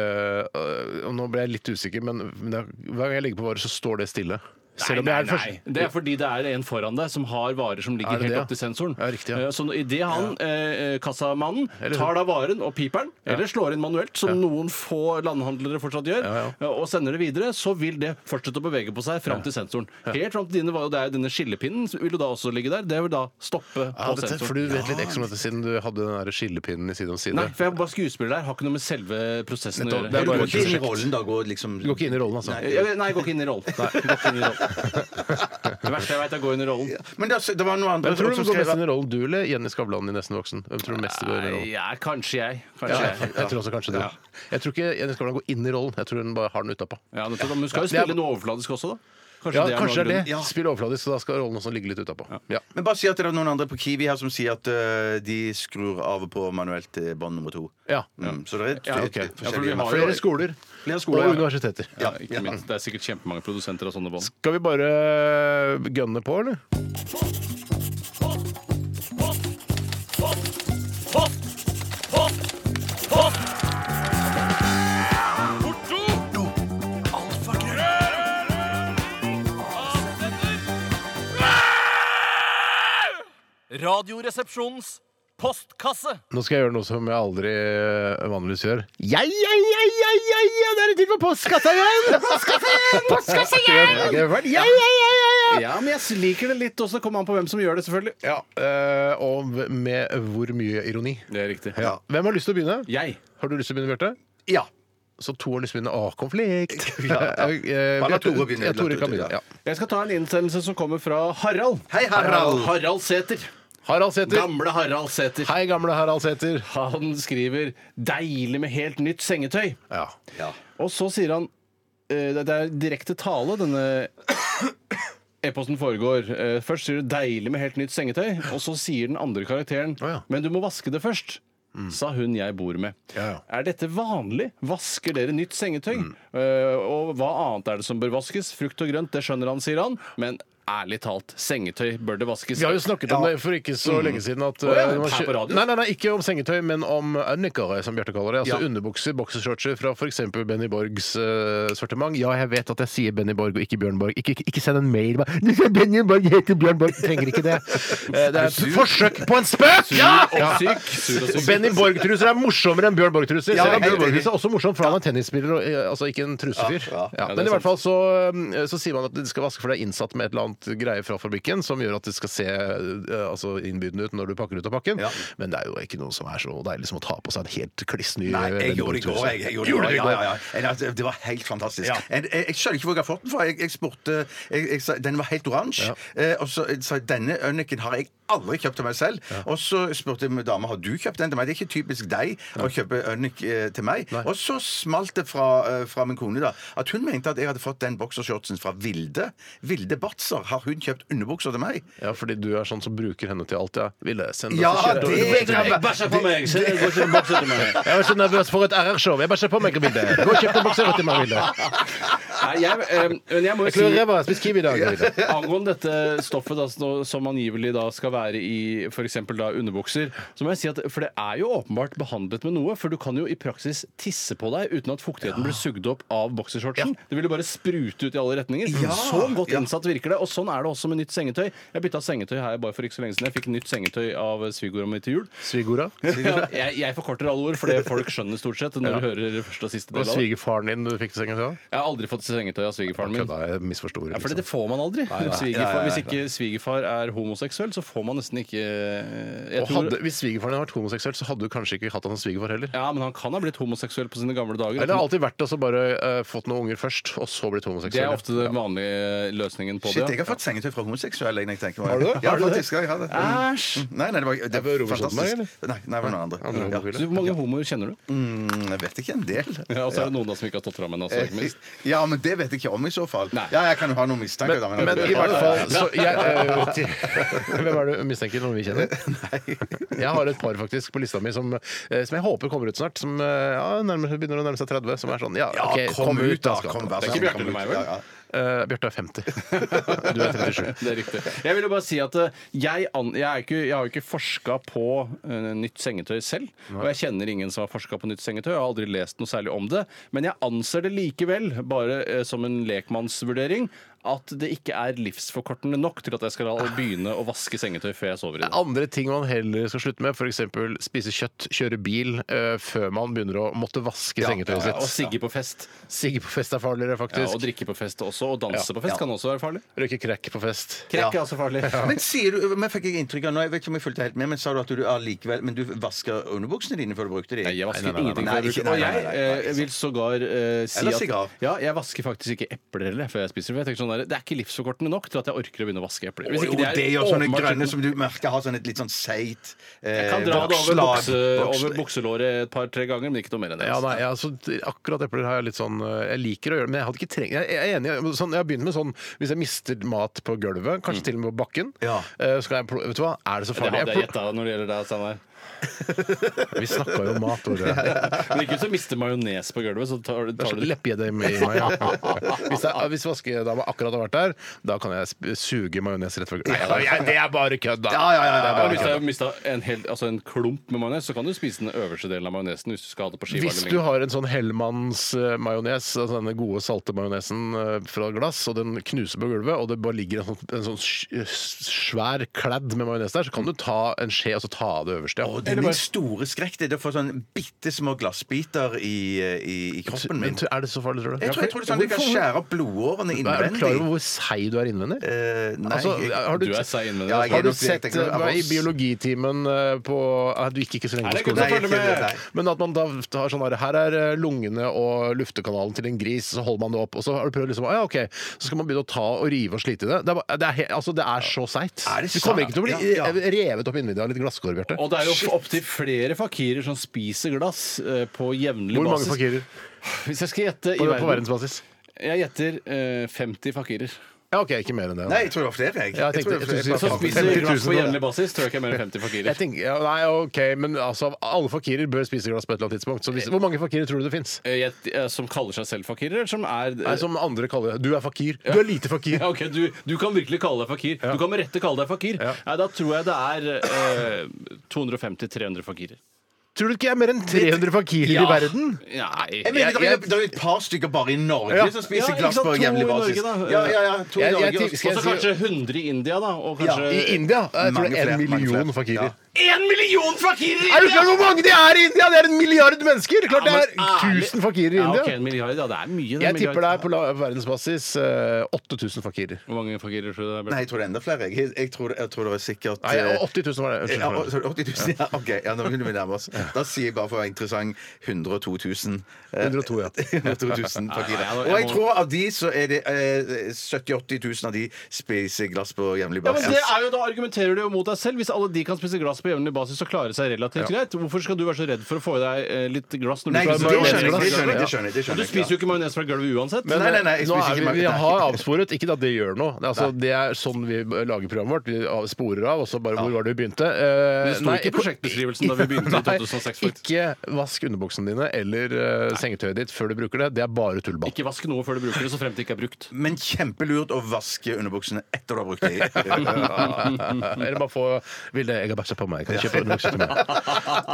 eh, Og nå ble jeg litt usikker, men men det er- hver gang jeg legger på varer, så står det stille. Selv om jeg er den nei. første. Det er fordi det er en foran deg som har varer som ligger Er det helt det, opp til ja? sensoren. Ja, riktig, ja. Eh, Så idet han, eh, kassamannen, Eller- tar da varen og piperen, eller slår inn manuelt, som noen få landhandlere fortsatt gjør, Ja, eh, og sender det videre, så vil det fortsette å bevege på seg fram til sensoren. Helt fram til dine, var jo der, denne skillepinnen vil jo da også ligge der. Det vil da stoppe Ja, på dette, for sensoren. du vet litt ekstra om dette siden du hadde den der skillepinnen i Side om side. Nei, for jeg er bare skuespiller der. Har ikke noe med selve prosessen å Nettopp, gjøre. det er Du bare går et ikke inn i prosjekt. rollen da? Går liksom Du går ikke inn i rollen, altså. Jeg- jeg- Nei, jeg går ikke inn i rollen. Jeg går ikke inn i rollen. Det verste jeg vet, er å gå inn i rollen. Men det, det var noen andre Hvem tror du som går skrev mest inn i rollen? Du eller Jenny Skavlan i Nesten voksen? Hvem tror du mest går inn i Nei, rollen? ja, kanskje jeg. Kanskje Ja, jeg, jeg. jeg tror også kanskje det. Jeg tror ikke Jenny Skavlan går inn i rollen, jeg tror hun bare har den utapå. Ja, nettopp. Men du skal jo Ja, det er- spille noe overfladisk også, da. Ja, kanskje noe det av er det. Spill overfladisk, så da skal rollen også ligge litt utapå. Ja. Men bare si at det er noen andre på Kiwi her som sier at øh, de skrur av og på manuelt til bånd nummer to. Ja. Mm, så det er Ja, forskjellige ok. Ja, for vi forskjellige- har jo- Flere skoler Flere skoler, ja. og universiteter. grunnen. Ja, ikke minst. Det er sikkert kjempemange produsenter av sånne bånd. Skal vi bare øh, gønne på, eller? Radioresepsjonens postkasse. Nå skal jeg gjøre noe som jeg aldri eh, vanligvis gjør. Ja, ja, ja, ja, ja, ja, det er det tid for postkassa igjen! Postkassa igjen! Postkassa igjen! Ja, ja, ja, ja, ja. Ja, men jeg liker det litt også. Det kommer an på hvem som gjør det, selvfølgelig. Ja, eh, og med hvor mye ironi. Det er riktig. Ja. Hvem har lyst til å begynne? Jeg. Har du lyst til å begynne, Bjarte? Ja. Så to har lyst til å begynne. Å, konflikt! Ja, ja. Eh, eh, Bare la Bjarte- Tore begynne. Ja, Tore La kan Tore, begynne. ja. Ja. Jeg skal ta en innsendelse som kommer fra Harald. Hei, Harald. Harald Sæther. Harald Sæther. Gamle Harald Sæther. Hei, gamle Harald Sæther. Han skriver 'deilig med helt nytt sengetøy'. Ja. Og så sier han eh, Det det er direkte tale, denne e-posten foregår. Eh, Først sier du 'deilig med helt nytt sengetøy', og så sier den andre karakteren Å ja. Mm. 'men du må vaske det først'. Sa hun jeg bor med. Ja, ja. Mm. Er dette vanlig? Vasker dere nytt sengetøy? Eh, og hva annet er det som bør vaskes? Frukt og grønt, det skjønner han, sier han. Men ærlig talt, sengetøy bør det vaskes. Vi har jo snakket om det for ikke så lenge siden. At, Mm. Å ja, eh, man her på kjø- radio? Nei, nei, nei, ikke om sengetøy, men om unnikere, som Bjarte kaller det. Altså Ja. underbukser, boksershortser fra f.eks. Benny Borgs eh, sortiment. Ja, jeg vet at jeg sier Benny Borg og ikke Bjørn Borg. Ikke, ikke- ikke send en mail. bare, «Du sier Benny Borg heter Bjørn Borg. Trenger ikke det. Eh, det er et forsøk på en spøk! Ja! og syk. Sur og Og syk. Benny Borg-truser er morsommere enn Bjørn Borg-truser. Ja, Selv helt om Bjørn enig. Borg-truser er også morsom, for han er tennisspiller og eh, altså ikke en trusefyr. Ja, ja. Ja, Ja, det Men er i hvert fall så, um, så sier man at det skal vaske, for det er innsatt med et eller annet greie fra fabrikken som gjør at det skal se eh, altså innbydende ut når du pakker ut av pakken. Ja. Men det er jo ikke noe som er så deilig som å ta på seg en helt kliss ny Nei, jeg Benny gjorde det i går. Borg-truse. Jeg, jeg gjorde det, i går. ja, ja, ja. En- altså, Det var helt fantastisk. En- Jeg, jeg skjønner ikke hvor jeg har fått den fra. Jeg, jeg spurte jeg, jeg, sa- Den var helt oransje. Eh, og så sa jeg denne øneken har jeg aldri kjøpt til meg selv. Og så spurte jeg med dama har du kjøpt den til meg. Det er ikke typisk deg å kjøpe ønek eh, til meg. Og så smalt det fra, eh, fra min kone da at hun mente at jeg hadde fått den boksershortsen fra Vilde. Vilde Batzer. Har hun kjøpt underbukser til meg? Ja, fordi du er sånn som bruker henne til alt, ja. Ville sende Ja, oss et det- kjøtt- det- Jeg bæsja på meg! så jeg går ikke tilbake til meg. Jeg er så nervøs for et RR-show. Jeg bare ser på meg bildet. Gå og kjøp en bokser til meg, Vilde. Nei, jeg, eh, men jeg må jo Jeg klør si- ræva. Jeg spiser kiwi i dag. Vilde. Angående dette stoffet da, så- som angivelig da skal være i f.eks. underbukser, så må jeg si at for det er jo åpenbart behandlet med noe, for du kan jo i praksis tisse på deg uten at fuktigheten blir sugd opp av boksershortsen. Det vil jo bare sprute ut i alle retninger. Så godt innsatt virker det. Og sånn er det også med nytt sengetøy. Jeg bytta sengetøy her bare for ikke så lenge siden. Jeg fikk nytt sengetøy av svigermora mi til jul. Svigorda. Ja, jeg, jeg forkorter alle ord, for det folk skjønner stort sett når du hører første og siste Det del. var av det. svigerfaren din du fikk til sengen fra? Jeg har aldri fått sengetøy av svigerfaren min. Kødda, jeg misforsto ordet, Ja, for liksom. det får man aldri. Svigerfar, Hvis ikke svigerfar er homoseksuell, så får man nesten ikke eh, jeg Og tror, hadde, hvis svigerfaren hadde vært homoseksuell, så hadde du kanskje ikke hatt han som svigerfar heller. Ja, men han kan ha blitt homoseksuell på sine gamle dager. Eller alltid vært det, og så bare eh, fått noen unger først, og så blitt Det homoseksuell. er ofte den vanlige løsningen på Shit, det. jeg ja. har fått sengetøy fra homoseksuelle. jeg tenker meg. Ja, faktisk. ja, Jeg har det. Æsj! Nei, nei, det var, det var Robert fantastisk. Stoltenberg, eller? Nei, nei, det var noen andre. Andre Ja. homofile. Så Hvor mange homoer kjenner du? Mm, Jeg vet ikke en del. Ja, altså, og så er det noen da som ikke har stått fram ennå. Eh, Altså, ikke minst. Ja, men det vet jeg ikke om i så fall. Nei. Ja, jeg kan jo ha noen mistanker. da, Men i hvert fall så jeg, eh, til- Hvem er du mistenker? Noen vi kjenner? Jeg har et par faktisk på lista mi som, eh, som jeg håper kommer ut snart. Som eh, ja, nærmer, begynner å nærme seg 30. Som er sånn Ja, Ja, ok, kom ut, da! skal Kom, han. vær så Det er ikke snill, Bjarte kom med ut. meg, vel? Ja, ja. Eh, Bjarte er 50. Du er 37. Det er riktig. Jeg vil jo bare si at eh, jeg, an, jeg, er ikke, jeg har jo ikke forska på eh, nytt sengetøy selv. Og jeg kjenner ingen som har forska på nytt sengetøy. Jeg har aldri lest noe særlig om det. Men jeg anser det likevel, bare eh, som en lekmannsvurdering, at det ikke er livsforkortende nok til at jeg skal begynne å vaske sengetøy før jeg sover i Det er det. andre ting man heller skal slutte med, f.eks. spise kjøtt, kjøre bil, eh, før man begynner å måtte vaske sengetøyet Ja, og sitt. sigge på fest. Sigge på fest er farligere, Ja, og faktisk. drikke på fest også. Og danse på fest kan også være farlig. Røyke crack på fest. Krekk er også farlig. Men sier du, men fikk jeg inntrykk av nå, jeg vet ikke om jeg fulgte helt med, men sa du at du allikevel Men du vasker underbuksene dine før du brukte de? Nei, jeg vasker Nei, nei, nei, ingenting nei, før jeg ikke- bruker Og nei, nei, jeg nei, nei, eh, ikke sant. vil sågar eh, si Eller at sigar. Ja, jeg vasker faktisk ikke epler heller før jeg spiser. For jeg tenker sånn der, Det er ikke livsforkortende nok til at jeg orker å begynne å vaske epler. Hvis Å, ikke jo, det gjør sånne åpenbart- grønne som du merker har sånn et litt sånn seigt eh, Jeg kan dra det over, vokslag. bukse, Voks- over bukselåret et par-tre ganger, men ikke noe mer enn det. Ja, altså. nei, altså, akkurat epler har jeg litt sånn eh, Jeg liker å gjøre det, men jeg hadde ikke trengt Jeg jeg er enig, jeg- sånn, jeg har begynt med sånn Hvis jeg mister mat på gulvet, kanskje til og med på bakken, Ja. eh, så kan jeg pl- Vet du hva, er det så Det farlig? hadde jeg Jeg pl- gjetta når det gjelder deg, Steinar. Vi snakka jo om mat, Tore. Men ikke hvis du mister majones på gulvet, så tar, Det er tar sånn du det. leppegedem i meg. Hvis, det er- hvis vaskedama akkurat har vært der, da kan jeg sp- suge majones rett fra gulvet. Nei, jeg- Det er bare kødd, da! Ja, ja, ja, Det er ja, bare ja, Hvis ja. du har mista en, hel- altså en klump med majones, så kan du spise den øverste delen av majonesen hvis du skal ha det på skiva. Hvis du har en sånn Hellmanns-majones, altså denne gode salte majonesen eh, fra glass, og den knuser på gulvet, og det bare ligger en sånn, en sånn sj- s- svær kladd med majones der, så kan du ta en skje og så ta av det øverste. Å, Ja. det er min store skrekk det er å få sånn bitte små glassbiter i, i, i kroppen Men min. Er det så farlig, tror du? Jeg tror, jeg tror det er sånn at jeg kan skjære opp blodårene er du klar over innvendig. hvor seig du er innvendig? Eh, nei, Altså, har Du er seig innvendig. Ja, altså, jeg er altså. Har du nok- altså, sett jeg tenker- eh, hva i biologitimen eh, på eh, Du gikk ikke så lenge Nei, på det er skolen. Nei, jeg kjenner- nei. Men at man da tar sånn her Her er eh, lungene og luftekanalen til en gris, så holder man det opp. Og så har du prøvd liksom, «Ah, ja, ok, så skal man begynne å ta og rive og slite i det. Det er, bare- det er, he- altså, det er så seigt. Er det Du kommer ikke til å bli sant? Ja, ja. eh, revet opp innvendig av litt glasskår, Bjarte. Og det er jo opptil flere fakirer som spiser glass eh, på jevnlig Hvor basis. mange fakirer Hvis jeg skal gjette i på, på verden verdensbasis? Jeg gjetter eh, 50 fakirer. Ja, OK, ikke mer enn det. Nei, jeg tror det var flere, jeg. Ja, jeg tror tenkte- det var jeg synes- flere. Som Ja, spiser 50 000 glass på da. jevnlig basis, tror jeg ikke er mer enn 50 Jeg fakirer. tenker, ja, nei, OK, men altså, alle fakirer bør spise glass på et eller annet tidspunkt. Så hvis, hvor mange fakirer tror du det fins? Eh, gjett- eh, Som kaller seg selv fakirer, eller som er Nei, som andre kaller det. Du er fakir. Du er lite fakir. Ja, ok, du, du kan virkelig kalle deg fakir. Du kan med rette kalle deg fakir. Ja. Nei, da tror jeg det er eh, 250-300 fakirer. Tror du ikke jeg er mer enn 300 fakirer i verden? Nei. Jeg mener, det er- det er jo et par stykker bare i Norge Ja. som Ja, spiser ikke glass sant, på to jevnlig i Norge, basis. da. Ja, ja, ja, to i Jeg- jeg Norge. tipper- skal Og jeg så si- kanskje 100 i India, da. Og kanskje I India jeg tror Mange det er flere, en mange million flere. fakirer. En million fakirer i Er du klar over hvor mange de er i India?! Det er en milliard mennesker! Klart det er Ja, men ærlig- 1000 fakirer i Ja, India. ok, en milliard, ja, det er mye. det er en Jeg tipper milliard. det er på la- verdensbasis eh, 8000 fakirer. Hvor mange fakirer tror du det er? Bjørn? Nei, jeg tror det er enda flere. Jeg, jeg, tror, det- jeg tror det er sikkert Nei, eh, 80 000 var det. Ja, å, Unnskyld. sorry, 80 000, ja. OK. Ja, nå begynner vi å nærme oss. Da sier jeg bare for å være interessant 102 000. Eh, 102, ja. 102 000 Nei, nei, fakirer. jeg må- Og jeg tror av de så er det eh, 70 80 000 av de spiser glass på jevnlig Ja, men basis. det er jo, Da argumenterer du jo mot deg selv. Hvis alle de kan spise glass på jevnlig basis og klare seg relativt greit, hvorfor skal du være så redd for å få i deg eh, litt glass? når Nei, du det skal ha skjønner jeg. majonesglass? Det skjønner jeg. Det skjønner jeg, det Og skjønner Du jeg, spiser jo ikke majones fra gulvet uansett. Nei, nei, nei, jeg eh, Nå spiser er vi, ikke vi mange- har avsporet. Ikke at det gjør noe. Det er, altså, det er sånn vi lager programmet vårt. Vi av- sporer av, og så bare Hvor var det vi begynte? Eh, Det sto nei, ikke i prosjektbeskrivelsen da vi begynte i 2006. Nei, faktisk. Ikke vask underbuksene dine eller eh, sengetøyet ditt før du bruker det. Det er bare tullball. Ikke vask noe før du bruker det, så fremt det ikke er brukt. Men kjempelurt å vaske underbuksene etter du har brukt dem. Eller bare få Vilde, jeg har bæsja på meg. Kan du kjøpe underbukse til meg?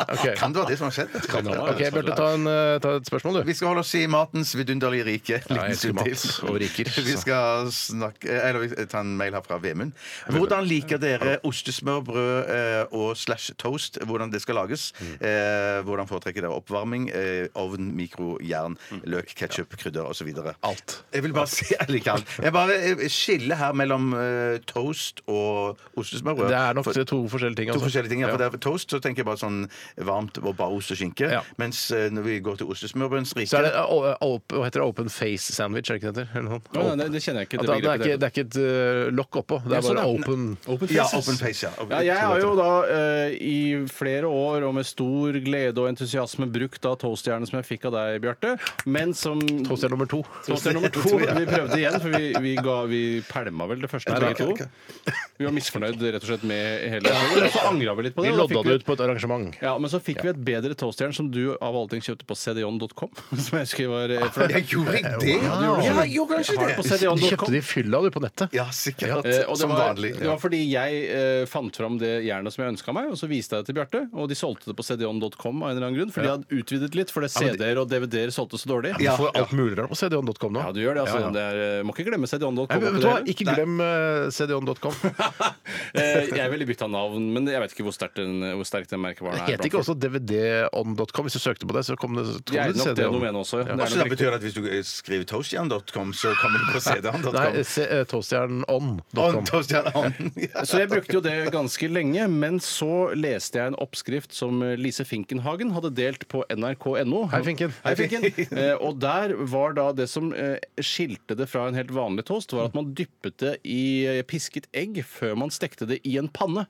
Ok, Kan det være det som har skjedd? Ok, Bjarte, ta, en, eh, ta et spørsmål, du. Vi skal holde oss i matens vidunderlige rike. en liten jeg elsker stund mat til. og riker, så. Vi skal snakke, eller vi tar en mail her fra Vemund. Hvordan liker dere ostesmørbrød eh, og slash toast? Hvordan det skal lages? Mm. Eh, Hvordan foretrekker dere oppvarming? Eh, Ovn, mikro, jern, løk, ketsjup, krydder osv. Mm. Alt. Jeg vil bare si jeg liker alt. Jeg bare eh, skiller her mellom eh, toast og ostesmørbrød. Det er nok For- to forskjellige ting. To altså. forskjellige ting. Ja. Ja. For det er toast så tenker jeg bare sånn varmt og bare ost og skinke. Ja. Mens eh, når vi går til ostesmørbrødens rike Så er det eh, o- open, hva heter det, open face sandwich, er det ikke det heter? Eller noe sånt? Nei, nei, det kjenner jeg ikke. At Det Det, det, er begrepet ikke, der. det er ikke et eh, lokk oppå. Det er Ja, sånn, bare ja. open. Ja, open face, ja. Ja, jeg har jo da eh, i flere år og med stor glede og entusiasme brukt da toastjernet som jeg fikk av deg, Bjarte, men som Toaster nummer to. Toaster nummer to. Vi prøvde igjen, for vi, vi, ga, vi pælma vel det første. Nei, begge det var to. ikke- Vi var misfornøyd rett og slett med hele showet. Og så angra vi litt på Vi det. og da lodda fikk det ut på et arrangement. Ja, Men så fikk vi et bedre toastjern som du av alle ting kjøpte på cdon.com. Som jeg husker var eh, flott. Jeg gjorde det! Ja, jeg gjorde kanskje Har det på det. Du cdon.com. kjøpte de i fylla, du, på nettet. Ja, sikkert. Eh, og det Som var, vanlig. det var fordi jeg eh, fant fram det jernet som jeg ønska meg, og så viste jeg det til Bjarte. Og de solgte det på cdon.com av en eller annen grunn, for de hadde utvidet litt, for det CD-er og DVD-er solgte så dårlig. Du får alt mulig rart på cdon.com nå. Ja, du gjør det. altså. Ja, ja. Det er, eh, må ikke glemme cdon.com. Nei, men vet oppi du hva? det hele. Ikke glem eh, cdon.com. Eh, jeg ville bytta navn, men jeg vet ikke hvor sterk den, hvor sterk den merkevaren Det er. heter ikke også dvdon.com. Hvis du søkte på det, så kom det, så kom Jeg er det nok det CD-on. domenet også. Ja. Det Også er da nok betyr det at hvis du skriver toastjern.com, så kommer du på Nei, cdan.com. se- eh, toastjernon.com. Toastjern.com. Så jeg brukte jo det ganske lenge, men så leste jeg en oppskrift som Lise Finkenhagen hadde delt på nrk.no. Hei, Finken. Hei, Finken. Eh, og der var da det som eh, skilte det fra en helt vanlig toast, var at man dyppet det i eh, pisket egg før man stekte det i en panne.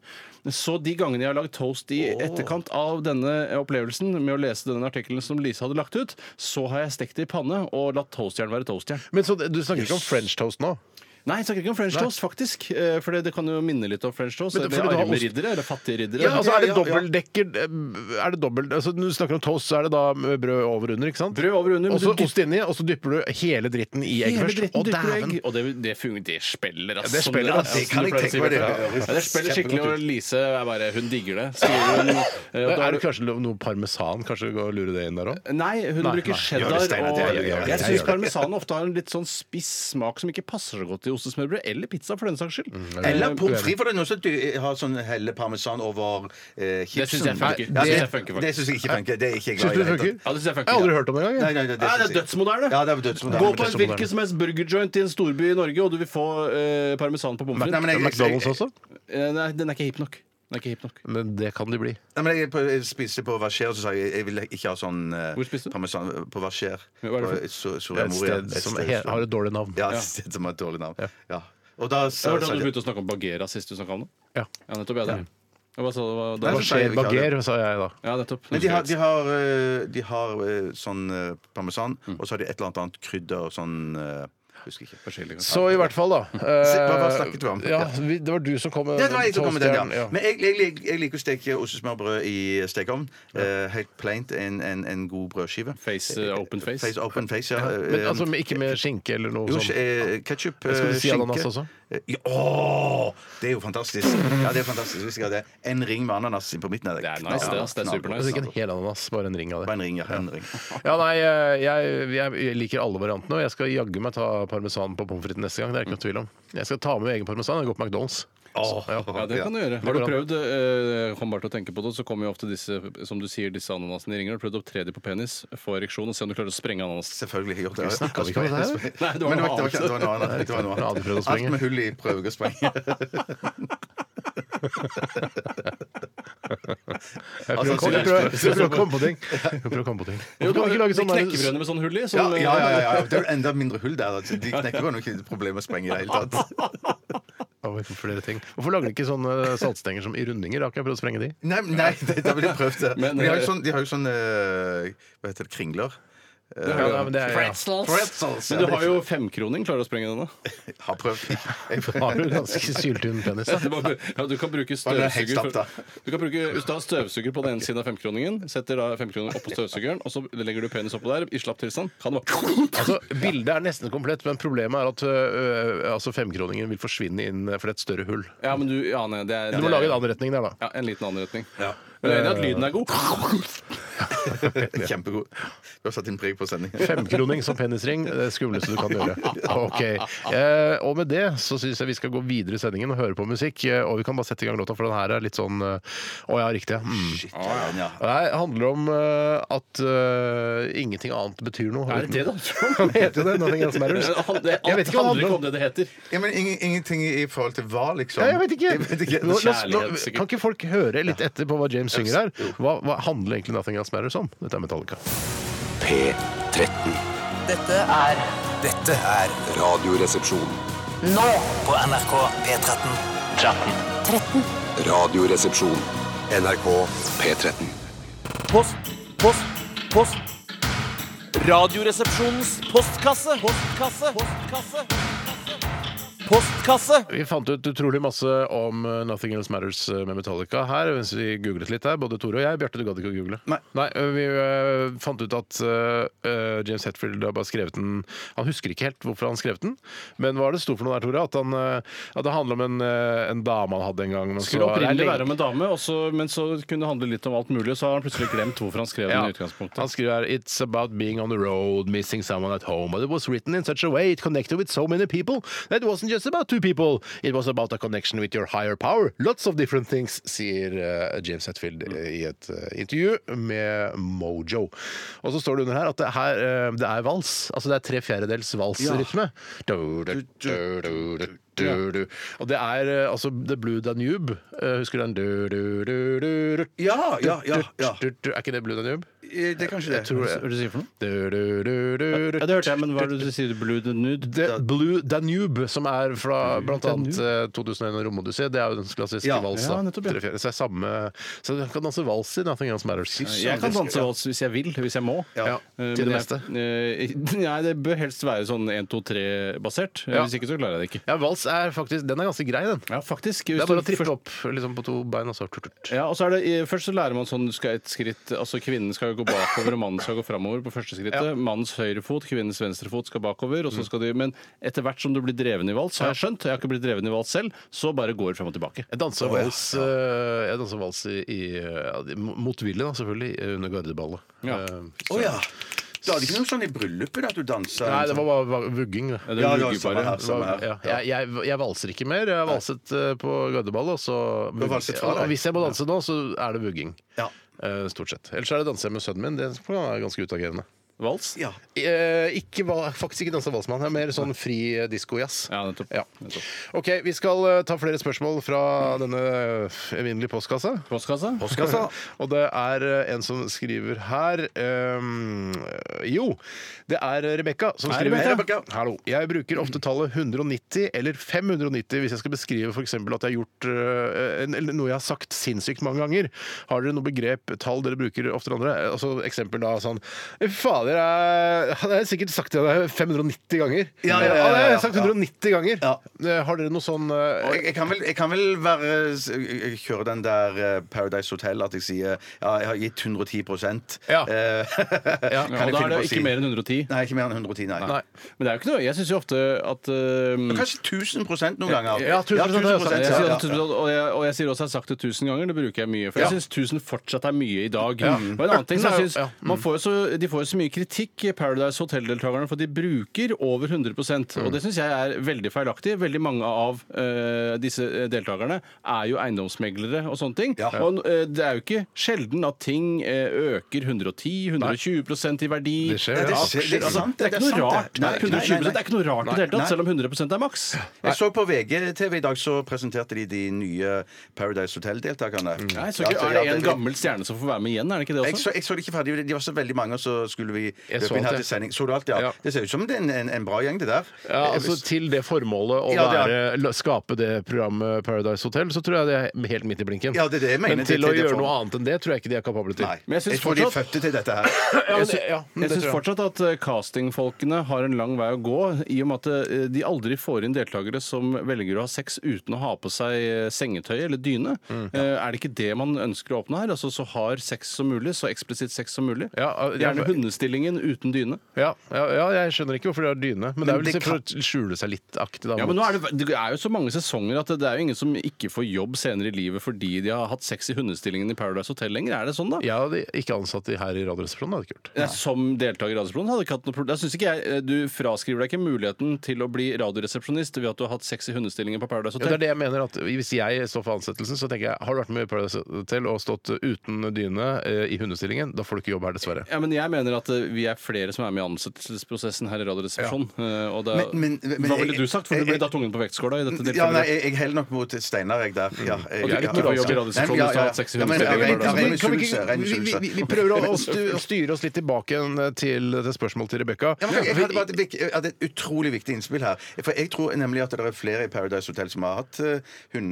Så de gangene jeg har lagd toast i etterkant av denne eh, opplevelsen med å lese denne artikkelen som Lise hadde lagt ut, så har jeg stekt det i panne og latt toastjern være toastjern. Men så, du snakker ikke om french toast nå? Nei, jeg snakker ikke om french toast, faktisk. Eh, For det, det kan jo minne litt om french toast. Men Eller det- fordi du har arme ost. riddere, eller fattige riddere. Ja, altså er det ja, ja. dobbeltdekker eh, Er det dobbelt altså, Når du snakker om toast, så er det da med brød over under, ikke sant? Brød over og under, men Og så du dyp- ost inni, og så dypper du hele dritten i egg Hele først. dritten Å, dypper i dæven. egg. Og det, det fungerer. Det spiller, ass. Sånn Ja, det spiller, ass. Som Det kan jeg pleier å si, tenke meg, det Bjarte. høres Ja, det spiller skikkelig, kjempegodt og Lise er bare Hun digger det. Skriver hun. eh, og da Er det kanskje noe parmesan? Kanskje gå og lure det inn der òg? Nei, hun Nei, bruker nei. cheddar. Gjør det, Steinar, og det gjør det, gjør det. Jeg Jeg syns gjør det. parmesan ofte har en litt sånn spiss smak som ikke passer så godt i ostesmørbrød eller pizza, for den saks skyld. Eller pommes frites, for det er noen som dy- har sånn helle parmesan over eh, chipsen. Det syns jeg funker. Nei, Det Det, syns jeg funker, faktisk. det syns jeg ikke funker. Det er ikke jeg glad i. Syns i du det hele det funker? tatt. Ja, det syns jeg Jeg har funker. aldri hørt om det Nei, engang. nei, jeg. nei, Nei, det syns er jeg- dødsmoderne. Ja, det er dødsmoderne. Gå på en Dødsmoderne. hvilken som helst burgerjoint i en storby i Norge, og du vil få eh, parmesan på pommes Nei, men frites. jeg- jeg- McDonald's også? Eh, Nei, den er ikke hip nok. Den er ikke hip nok. Men det kan de bli. Nei, men jeg, på, jeg spiste på Vacher, og så sa jeg jeg vil ikke ha sånn eh, Hvor spiste du? parmesan på Vacher. Ja, hva er det for? På Sur- Soria Et Moria. sted som he har et dårlig navn. Ja, et sted som har et dårlig navn. Ja. Og da Jeg sa hørte sa at du jeg begynte å snakke om Bagheera sist du snakka om det. Ja. Ja, nettopp. Ja, det. Ja, hva sa du? Hva- Nei, da- så skjer vi ikke av det. Bager, sa jeg da. ja, nettopp. Men de har, de har, eh, de har eh, sånn eh, parmesan, Mm. og så har de et eller annet annet krydder sånn eh, Husker ikke. Forskjellig. Så i hvert fall, da. hva- hva snakket vi om? Eh, Ja, vi, det var du som kom med Det var jeg som kom med den, toastjern, ja. Men jeg, jeg, jeg, jeg liker å steke ostesmørbrød i stekeovn. Eh, helt plaint. En, en, en god brødskive. Face, eh, open face. Face open face, ja. Eh, Men altså men ikke med skinke eller noe Jo, sånn- eh, sånt? ketsjup, Eh, Skal du si ananas også? Eh, Ja, åh, det er jo fantastisk. Ja, det er fantastisk hvis jeg hadde en ring med ananas inn på midten. av Det er nice, det, ass. Det er knall- supernice. Altså ikke en hel ananas, bare en ring av det. Bare en ring, ja. En ring. Ja, nei, eh, jeg, jeg liker alle variantene, og jeg skal jaggu meg ta parmesan på pommes frites neste gang. Det er ikke noe tvil om. Jeg skal ta med egen parmesan. Jeg går på McDonald's. Åh, Ja, det kan du gjøre. Har du prøvd eh, kom bare til å tenke på det, så kommer jo ofte disse som du sier, disse ananasene i ringer. Har du prøvd å opptre dem på penis, få ereksjon og se om du klarer å sprenge ananasen? Selvfølgelig. Jeg har gjort det. Altså, Snakka vi ikke om det her? Nei, det var Men det noe var ikke- det annet. var noe annet. Det var noe Jeg hadde prøvd å annet. Alt sprenge. med hull i prøver å sprenge. Jeg prøver, å komme- jeg prøver, jeg prøver å komme på ting. Jeg prøver å komme på ting. Hvorfor kan vi ikke lage sånn De der- knekkebrødene med sånn hull i. Ja, Som, ja, ja, ja, ja. Det er jo enda mindre hull der. altså. De knekker jo ikke problem med å sprenge i det hele tatt. Å, vi får flere ting. Hvorfor lager de ikke sånne saltstenger som i rundinger? Da har ikke jeg prøvd å sprenge de. Nei, nei det, da blir det prøvd. det. Men, Men de har jo eh, sånn, de har jo sånn eh, Hva heter det? Kringler? Ja, nei, men det er, ja. Pretzels. Men du har jo femkroning. Klarer du å sprenge den, da? Har prøvd. Jeg Har du ganske syltynn penis? Du, må- ja, du kan bruke Bare den er helt støvsuger stappet, da. for- Du kan bruke hvis du har støvsuger på den ene siden av femkroningen. Setter da femkroningen oppå støvsugeren, og så legger du penis oppå der i slapp tilstand. Kan du bare Altså, Bildet er nesten komplett, men problemet er at øh, altså femkroningen vil forsvinne inn fordi det er et større hull. Ja, men du Ja, nei, det er Du må lage en annen retning der, da. Ja, en liten annen retning. Men jeg er enig i at lyden er god. er Kjempegod. Du har satt din preg på sendingen. Femkroning som penisring, det skumleste du kan gjøre. Ok, eh, Og med det så syns jeg vi skal gå videre i sendingen og høre på musikk. eh, Og vi kan bare sette i gang låta, for den her er litt sånn eh, Å ja, riktig. ja. Mm. Shit, ja, ja. Det her handler om eh, at eh, ingenting annet betyr noe. Er det det, da? Han heter jo det. Nothing else matters. Alt Jeg vet ikke hva handler det handler ikke om. om det det heter. ja, men ingen, Ingenting i forhold til hva, liksom? Ja, jeg vet ikke. Nå, la oss- Kjærlighet, nå, sikkert. kan ikke folk høre litt etter på hva James synger her? Hva, hva handler egentlig Nothing Else Matters om? Dette er Metallica. P13. Dette er Dette er Radioresepsjon. nå på NRK P13. Radioresepsjon. NRK P13. Post, post, post. Radioresepsjonens postkasse. Postkasse. Postkasse. postkasse. Vi fant ut utrolig masse om eh, Nothing Else Matters eh, med Metallica her. Mens vi googlet litt her, både Tore og jeg. Bjarte, du gadd ikke å google. Nei. eh, vi eh, fant ut at eh, eh, James Hetfield har bare skrevet den Han husker ikke helt hvorfor han skrev den, men hva er det sto for noe der, Tore? At, han, eh, at det handler om en, eh, en dame han hadde en gang. Men Skulle så- opprinnelig det er lenge- være om en dame, og så- men så kunne det handle litt om alt mulig, og så har han plutselig glemt hvorfor han skrev den. i Han utgangspunktet. skriver her It's about being on the road, missing someone at home. But it was written in such a way it connected with so many people that it wasn't just about two people. It was about a connection with your higher power. Lots of different things, sier eh, James Hetfield eh, i et eh, intervju med Mojo. Og så står det under her at det, her, eh, det er vals. Altså det er tre fjerdedels valsrytme. Du, du, du, du, du. Du, du. Og det er eh, altså The Blue Danube. Eh, Husker du den? Du, du, du, du, du, Ja, ja, ja, ja. du, du. Er ikke det Blue Danube? Eh, Det er kanskje det. Tror Hva jeg. er det du sier for noe? Du, du, du, du, du. Ja, det hørte jeg, men hva er det du sier? Blue the nude? The Blue Danube, som er fra bl.a. 2001 og Romodyssé, det er jo den klassiske Ja. vals. da. Ja, nettopp, ja. Tre fjerde- Så, det er samme, så du kan danse vals i Nothing Else Matters. altså. Jeg kan danse vals hvis jeg vil, hvis jeg må. Ja. Eh, Til det men meste. Jeg, eh, nei, det bør helst være sånn 1-2-3-basert. Ja. Hvis ikke så klarer jeg det ikke. Ja, vals er faktisk Den er ganske grei, den. Ja, faktisk. Det Hvis er bare du å trippe først- opp liksom, på to bein og så tut, tut. Ja, og så er det, eh, Først så lærer man sånn du skal et skritt Altså kvinnen skal gå bakover, og mannen skal gå framover på første skrittet. Mannens høyre fot, kvinnens venstre fot skal bakover. Mm. Og så skal de, men etter hvert som du blir dreven i vals, har jeg skjønt, jeg har ikke blitt dreven i vals selv, så bare går det fram og tilbake. Jeg dansa vals, eh, jeg dansa vals i, i ja, motvillig, da, selvfølgelig, under gardeballet. Ja. Eh, Å ja. Da hadde ikke noe sånn i bryllupet da, at du liksom? dansa? Nei, liksom- det var bare var vugging. Da. Ja, det Ja, lugger ja, samme bare. her, samme her. Ja, jeg, jeg, jeg valser ikke mer. Jeg har valset eh, på Gødeball, og så Du har valset fra deg. Og Hvis jeg må danse nå, så er det vugging. Ja. Eh, Stort sett. Ellers er det danser jeg med sønnen min. Det er ganske utagerende. Vals? Ja. Eh, Ikke, val- faktisk ikke dansa valsmann. Jeg er mer sånn fri eh, diskojazz. Ja, nettopp. Ja. nettopp. OK, vi skal eh, ta flere spørsmål fra denne eh, evinnelige postkassa. Postkassa? Og det er eh, en som skriver her ehm, Jo, det er eh, Rebekka som Hei, skriver Rebekka. Hei, Rebekka. Hallo. Jeg bruker ofte tallet 190 eller 590 hvis jeg skal beskrive f.eks. at jeg har gjort eh, en, eller noe jeg har sagt sinnssykt mange ganger. Har dere noe begrep, tall dere bruker oftere enn andre? Eh, Altså eksempel da sånn Fader, jeg hadde jeg sikkert sagt det 590 ganger. Ja, ja, ja, ja, ja. Jeg har sagt 190 ganger. Ja. Eh, Har dere noe sånn eh, Og jeg, jeg, kan vel, jeg kan vel være jeg kjøre den der eh, Paradise Hotel at jeg sier ja, jeg har gitt 110 Ja. Eh, Ja, Ja, og da er det ikke mer enn 110. Nei, ikke mer enn 110, nei. Nei. Men det er jo ikke noe Jeg syns jo ofte at eh, altså. Kanskje 1000 noen ganger. Ja, 1000% har jeg sagt. Jeg ja, sier, ja, også- Og, jeg, og jeg sier også jeg har sagt det tusen ganger. Det bruker jeg mye. For jeg synes syns 1000 fortsatt er mye i dag. Og en annen ting som jeg synes, Ja, man får jo så, De får jo så mye kritikk, Paradise Hotel-deltakerne, for de bruker over 100 Og det syns jeg er veldig feilaktig. Veldig mange av eh, disse deltakerne er jo eiendomsmeglere og sånne ting. Og eh, det er jo ikke sjelden at ting eh, øker 110-120 i verdi. Det skjer, Ja, det ja. skjer. det er sant, Det er ikke noe sant, rart. det. Det er ikke Nei, nei, 120 det er ikke noe rart i det hele Nei. tatt, selv om 100 er maks. Jeg så på VGTV i dag, så presenterte de de nye Paradise Hotel-deltakerne. Mm. Nei, så ikke, Ja, er det ja, en gammel stjerne som får være med igjen? Er det ikke det jeg også? så, jeg så det ikke ferdig. De var så veldig mange, og så skulle vi Jeg så løpe inn alt, her jeg. til sending. Så du alt, ja? Ja. Det ser ut som det er en, en, en bra gjeng, det der. Ja, altså Til det formålet å Eh, Ja, det er- være, la- skape det programmet Paradise Hotel, så tror jeg det er helt midt i blinken. Ja, det er det jeg mener. Men Det er til å til det gjøre formålet. noe annet enn det tror jeg ikke de er kapable til. Nei. Men jeg Jeg, synes tror de er fortsatt- født til dette her. Ja, men det- ja, det Jeg syns tror jeg. fortsatt at eh, castingfolkene har en lang vei å gå, i og med at eh, de aldri får inn deltakere som velger å ha sex uten å ha på seg eh, sengetøy eller dyne. Eh, Er det ikke det man ønsker å oppnå her? Altså Så hard sex som mulig, så eksplisitt sex som mulig. Ja, eh, ja, Gjerne hundestillingen uten dyne. Ja, ja, ja, jeg skjønner ikke hvorfor de har dyne. Men, det er vel det sikkert for å skjule seg litt aktig. Da, Ja, men nå er det, det er jo så mange sesonger at det, det er jo ingen som ikke får jobb senere i livet fordi de har hatt sex i hundestillingen i Paradise Hotel lenger. Er det sånn, da? Jeg hadde ikke ansatt de her i Radioresepsjonen. hadde jeg ikke gjort. Nei. Som deltaker i Radioresepsjonen hadde jeg ikke hatt noe problem. Jeg synes ikke jeg, Du fraskriver deg ikke muligheten til å bli radioresepsjonist ved at du har hatt sex i hundestillingen på Paradise Ja, det Hotel. er det jeg mener at Hvis jeg står for ansettelsen, så tenker jeg har du vært med i Paradise Hotel og stått uten dyne eh, i hundestillingen, da får du ikke jobb her, dessverre. ja, men jeg mener at eh, vi er flere som er med i ansettelsesprosessen her i Radioresepsjonen. eh, Og det, Men- men- men hva ville jeg- du sagt? For eh, du jeg- ble da tungen på vektskåla i dette Ja, nei, tilfellet. jeg, jeg heller nok mot Steinar, jeg der. Ja, jeg, Og du er ikke noe jobb i Radioresepsjonen hvis du har hatt sex i Ja, men jeg- jeg- jeg- jeg- hundestillingen. Kan vi, misunnelse, ikke, ren vi, vi, misunnelse. vi- vi prøver å, å stu, å styre oss litt tilbake igjen eh, til til spørsmålet til Rebekka. Ja, men jeg hadde bare et, vik- jeg hadde et utrolig viktig innspill her. For jeg tror nemlig at det er flere i Paradise Hotel som har hatt eh,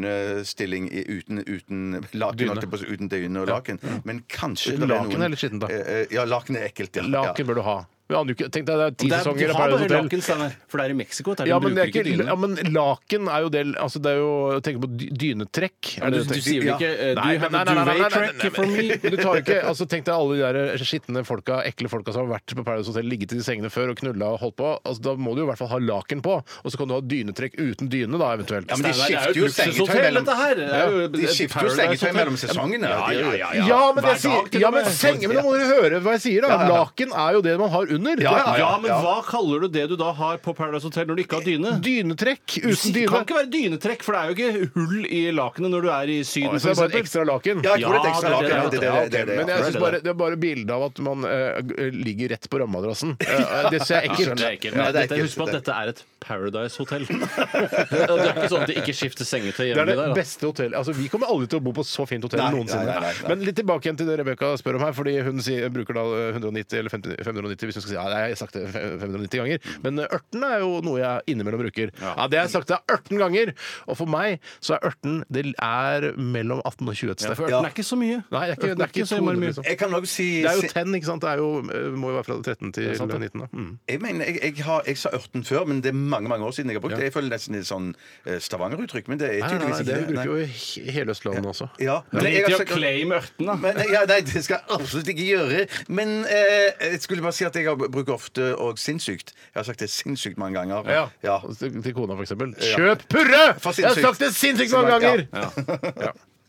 hundestilling i, uten, uten laken, holdt jeg på, å si, Mm. uten dyne og laken. Men kanskje Uten det er laken noen- eller skitten, da? Eh, eh, Ja, laken er ekkelt, ja. Laken ja. bør du ha. Vi aner jo ikke Tenk deg, det er ti Det er, de sesonger av har Paradise bare Hotel. laken, Steinar. For det er i Mexico. Der de Ja, men, det er bruker ikke, dyne. ja, men laken er jo del altså Det er jo Tenk på dy- dynetrekk. Ja, du, er det du tenker? sier vel Ja. ikke eh, Nei, Do you men- have nei, a nei, nei, nei, duvet nei, nei, track for me? Men Du tar jo ikke, altså Tenk deg alle de der skitne folka, ekle folka som har vært på Paradise Hotel, ligget i de sengene før og knulla og holdt på. Altså, da må du jo i hvert fall ha laken på, og så kan du ha dynetrekk uten dyne, da eventuelt. Ja, men de Steinar, skifter det er jo jo et sengetøy luksushotell, mellom dette her. Det er jo De et skifter jo Paradise sengetøy Hotel. mellom sesongene. Ja, ja, ja, ja. Ja, men, Hver jeg sier, dag til ja, og men, med. seng, men nå må dere høre hva jeg sier, da. Ja, ja. Laken er jo det man har under. Ja, Ja, ja, men ja. hva kaller du det du da har på Paradise Hotel når du ikke har dyne? Dynetrekk uten Det kan dyne. ikke være dynetrekk, for det er jo ikke hull i lakenet når du er i Syden. Så det er bare et for eksempel. ekstra laken. Ja, jeg tror det er et Ja, ekstra det er lag. det, ja, det det er er det, det er det, Men ja. jeg synes bare, det er bare bildet av at man eh, g- ligger rett på rammemadrassen. Eh, det ser jeg Ja, ekkelt. det er ekkelt. Ja, det er Dette- ekkelt. Husk på at dette er et Paradise Hotel. Og det er ikke sånn at de ikke skifter sengetøy Det hjemme er det der. da. beste hotellet. Altså, vi kommer aldri til å bo på så fint hotell Nei, noensinne. nei, nei, nei. Men litt tilbake igjen til det Rebekka spør om her, fordi hun sier, bruker da eh, 190 eller 50, 590 hvis hun skal si ja, nei, jeg har sagt det 590 ganger. Men eh, ørten er jo noe jeg innimellom bruker. Ja, det har jeg sagt det er 18 ganger! Og for meg så er ørten det er mellom 18 og 20 et Ja, sted. for ørten er ikke så mye. Nei, det er ikke, det er ikke så innmari 200, mye. liksom. Jeg kan nok si Det er jo 10, ikke sant? Det er jo, eh, må jo være fra 13 til 19. Da. Mm. Jeg mener, jeg, jeg, har, jeg sa ørten før, men det er mange mange år siden jeg har brukt det. Jeg føler nesten litt sånn eh, Stavanger-uttrykk, men det er Nei, nei, nei, tydeligvis det ikke det. bruker Nei. jo he- hele Østlandet også. Ja, men jeg Drit har i å sagt- claime ørten, da. Men, ja, nei, det skal jeg absolutt ikke gjøre. Men eh, jeg skulle bare si at jeg har- bruker ofte og sinnssykt. Jeg har sagt det sinnssykt mange ganger. Ja. Ja. Til til kona, for eksempel. Kjøp purre! For Jeg har sinnssykt. sagt det sinnssykt mange ganger! Ja.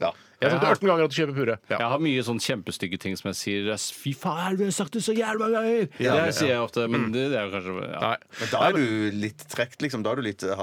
Ja. Jeg har sagt det 18 ganger at du kjøper purre. Ja. Jeg har mye sånn kjempestygge ting som jeg sier Fy faen, du har sagt det så jævla ganger! Ja, Mm. det sier jeg ofte, men det, det er jo kanskje ja. Nei. Men da er du litt trekt, liksom. Da er du litt uh,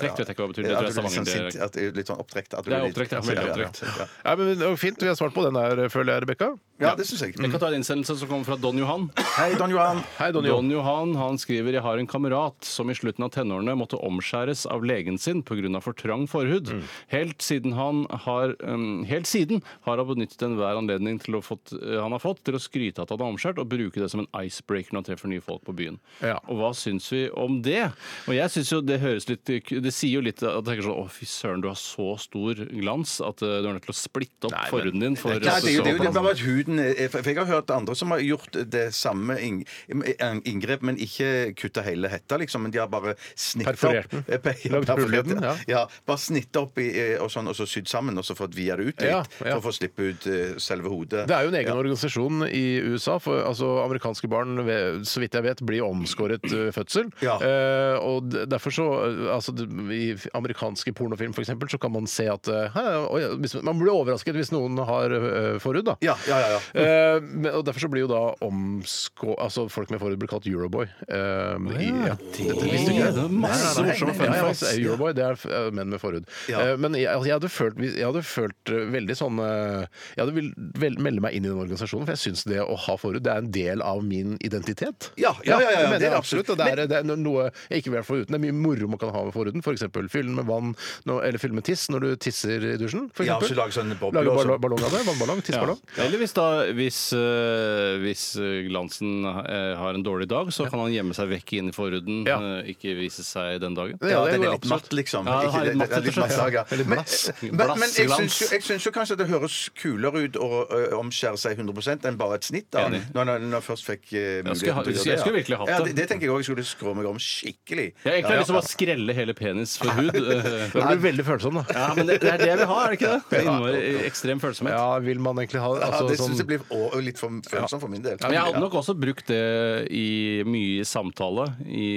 Trekt vet jeg ikke hva betyr. Det At du tror jeg er litt sånn Stavanger- sint, at du er litt sånn opptrekt. At du Det er litt- opptrekt, ja. Veldig opptrekt. Ja, Nei, men det var Fint vi har svart på den der, føler jeg, Rebekka. ja det syns jeg. Mm. Jeg kan ta en innsendelse som kommer fra Don Johan. Hei, Don Johan. Hei, Donny. Don Johan han skriver jeg har en kamerat som i slutten av tenårene måtte omskjæres av legen sin pga. for trang forhud. Mm. Helt siden han har um, helt siden har han benyttet enhver anledning til å fått, eh, han har fått til å skryte at han er omskjært, og bruke det som en icebreaker når han treffer nye folk på byen. Ja. Og hva syns vi om det? Og jeg syns jo det høres litt Det sier jo litt at jeg tenker sånn Å, fy søren, du har så stor glans at eh, du er nødt til å splitte opp forhuden din for sånn." Nei, det er jo det, er jo- det er såpass- bare at huden er, for jeg har hørt andre som har gjort det samme ing- ing- inngrep, men ikke kutta hele hetta, liksom. Men de har bare snitt opp Perforert den. Eh, per- ja, Lagd hull i perforert, den, ja. ja. ja. Bare snitt opp i, eh, og sånn, og så sydd sammen, og så fått via det ut litt. Ja, ja. For å få slippe ut eh, selve hodet. Det er jo en egen organisasjon i USA. For, altså, amerikanske barn, ved- så vidt jeg vet, blir omskåret eh, fødsel. Ja. Eh, og d- derfor så eh, altså, d- I amerikanske pornofilm, for eksempel, så kan man se at eh, hæ, oi, hvis, Man blir overrasket hvis noen har eh, forhud, da. Ja, ja, ja, ja. Eh, men, og Derfor så blir jo da omskå... Altså Folk med forhud blir kalt Euroboy. Eh, i, ja. Dette visste ikke jeg. Det er masse morsomme fun Ja, ja, facts. altså, Euroboy, det er eh, menn med forhud. Ja. Eh, Men jeg, altså, jeg, hadde følt, jeg hadde følt eh, veldig sånn eh, Jeg hadde vil, vel, melde meg inn i den organisasjonen, for jeg syns det å ha forhud det er en del av min identitet. Ja, ja, ja, ja, det ja, mener det er jeg absolutt. absolutt. Og det er, det er noe jeg ikke vil være foruten. Det er mye moro man kan ha med forhuden. F.eks. For fylle den med vann, nå- eller fylle med tiss når du tisser i dusjen. For Ja, eksempel. så lage sånn boble Lage og ball sånn. ballong av det. Vannballong. Ja. Tissballong. Eller hvis da hvis, øh, hvis øh, glansen øh, har en dårlig dag, så kan han gjemme seg vekk inne i forhuden. Ja. øh, Ikke vise seg den dagen. Ja, Ja, det den er går litt matt, liksom. Ja, den har Ikke- litt matt, den er rett og matt, slett. ja. Ja, litt Men- blass. Men, men jeg, Blassglans. syns jo, jeg syns jo kanskje at det høres kulere ut å ø, omskjære seg 100 enn bare et snitt. da Enig. Når når- når jeg først fikk eh, Jeg skulle ha- muligheten til å gjøre jeg skulle ja. virkelig hatt Ja, det. det. Det tenker jeg òg. Jeg skulle skrå meg om skikkelig. Jeg har egentlig Ja, lyst til å bare skrelle hele penis for hud. øh. Da blir du veldig følsom, da. Ja, men det, det er det jeg vil ha, er det ikke det? det er innmari ekstrem følsomhet. Ja, vil man egentlig ha ja, altså, det sånn- syns jeg blir å- litt for følsomt for min del. Men jeg hadde nok også brukt det i mye i samtale i,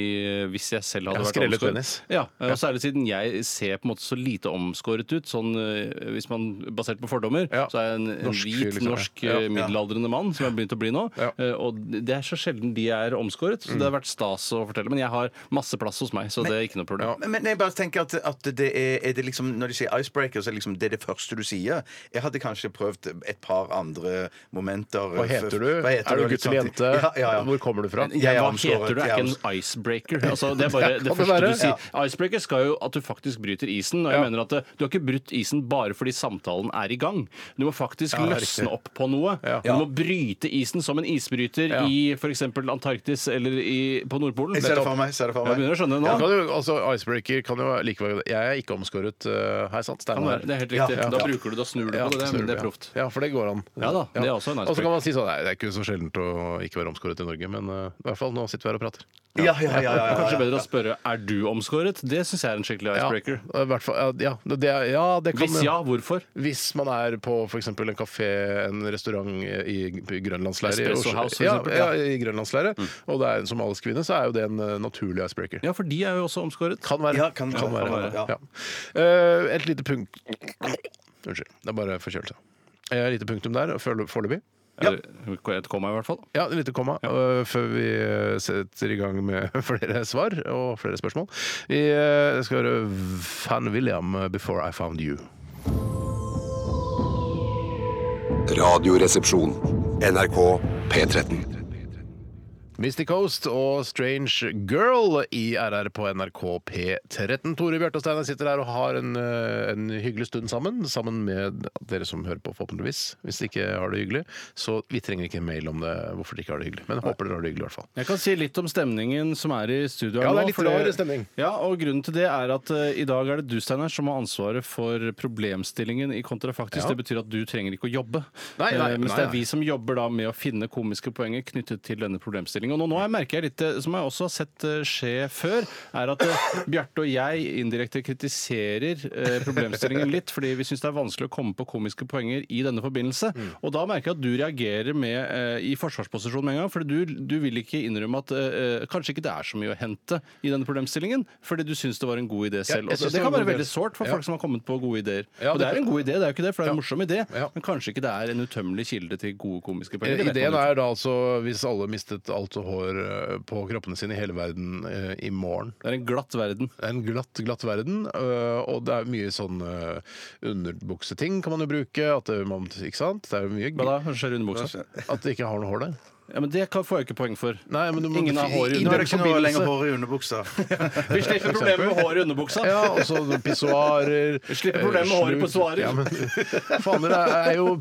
hvis jeg selv hadde Ja, vært skrellet omskåret. penis. Ja, og særlig siden jeg ser på en måte så lite omskåret ut, sånn, eh, hvis man basert på fordommer, Ja. så er jeg en, en Norsk hvit, fyr, liksom, ja. norsk, Ja. eh, middelaldrende mann som jeg har begynt å bli nå. Ja. Mm. Eh, Og det er så sjelden de er omskåret, så det har vært stas å fortelle. Men jeg har masse plass hos meg, så det er ikke noe problem. Men- Men jeg bare tenker at, at det er, er det liksom, Når de sier icebreaker, så er det liksom det, er det første du sier. Jeg hadde kanskje prøvd et par andre momenter. Hva heter du? Hva heter er du og litt gutt eller sånt. jente? Ja, ja, ja. Hvor kommer du fra? Jeg er Hva omskåret, heter du? Er jeg er ikke en icebreaker. Altså, det er bare Ja, det kan det første være? du sier. Icebreaker skal jo at du faktisk bryter isen. Og jeg mener at eh, du har ikke brutt isen bare fordi samtalen er i gang. Du må faktisk det er løsne opp på noe. Du må bryte isen som en isbryter Ja. i f.eks. Antarktis eller i, på Nordpolen. Jeg ser det for meg. Ser det for Jeg meg. begynner å skjønne det Ja, nå. kan jo, altså, icebreaker kan jo likevel Jeg er ikke omskåret. eh, Hei sann, Kan Steinar. være. Det er helt riktig. Ja, ja. Da bruker du det og snur du Ja, på det. snurper, Det er ja. proft. Ja, for det går an. Ja da. Det er også en nice Og så break. kan man si sånn Nei, det er ikke så sjeldent å ikke være omskåret i Norge, men eh, i hvert fall nå sitter vi her og prater. Ja, ja, ja, ja, ja, Kanskje ja. bedre å spørre er du omskåret. Det syns jeg er en skikkelig Ja, icebreaker. i hvert fall, ja, det, det er- ja, det kan Hvis ja, hvorfor? Hvis man er på f.eks. en kafé, en restaurant i i grønlandsleiret i Espresso Oslo- House, for ja, eksempel, Mm. ja, i grønlandsleiret, og det er en somalisk kvinne, så er jo det en eh, naturlig icebreaker. Ja, for de er jo også omskåret. Kan være. Ja, kan- kan være. være, ja. Ja. Eh, et lite punkt Unnskyld. Det er bare forkjølelse. Eh, Et lite punktum der, føl- foreløpig. Eller et komma, i hvert fall. Ja, et lite komma øh, før vi øh, setter i gang med flere svar og flere spørsmål. Vi øh, skal høre Fan William øh, 'Before I Found You'. Radioresepsjon. NRK P13. Mystic Coast og Strange Girl i RR på NRK P13. Tore Bjartestein sitter her og har en, øh, en hyggelig stund sammen. Sammen med dere som hører på, forhåpentligvis. Hvis dere ikke har det hyggelig, så vi trenger ikke mail om det hvorfor dere ikke har det hyggelig. Men jeg håper dere har det hyggelig, i hvert fall. Jeg kan si litt om stemningen som er i studio her Ja, nå. det er litt fordi- rar stemning. Ja, og grunnen til det er at eh, i dag er det du, Steinar, som har ansvaret for problemstillingen i Kontrafaktisk. Ja. Det betyr at du trenger ikke å jobbe. Nei, nei, Eh, mens nei, det er nei. vi som jobber da med å finne komiske poenger knyttet til denne problemstillingen. Og nå, nå har jeg- merker jeg litt, eh, som jeg også har sett eh, skje før, er at eh, Bjarte og jeg indirekte kritiserer eh, problemstillingen litt, fordi vi syns det er vanskelig å komme på komiske poenger i denne forbindelse. Og da merker jeg at du reagerer med, eh, i forsvarsposisjon med en gang, for du, du vil ikke innrømme at eh, eh, kanskje ikke det er så mye å hente i denne problemstillingen, fordi du syns det var en god idé selv. jeg Og det, synes det det var kan være en god idé. veldig sårt for Ja. folk som har kommet på gode ideer. Ja, og det det- er en god idé, det er jo ikke det, for det er en morsom idé, Ja. Eh, men kanskje ikke det er en utømmelig kilde til gode komiske poenger. Det vet Ideen man jo ikke. er da altså hvis alle mistet alt hår eh, på kroppene sine i hele verden eh, i morgen. Det er en glatt verden. Det er En glatt, glatt verden, eh, og det er mye sånn eh, underbukseting kan man jo bruke. At det, man, ikke sant? Det er jo mye Hva da? Hva skjer under buksa? At det ikke har noe hår der. Ja, men det kan, får jeg ikke poeng for. Nei, men du må- Ingen har hår i Nå er det underbuksa. ikke noe lenger hår i underbuksa. Vi slipper problemet med hår i underbuksa. Ja, og så pissoarer eh, Slipper problemet med håret på svarer. Ja, men faen, dere er jo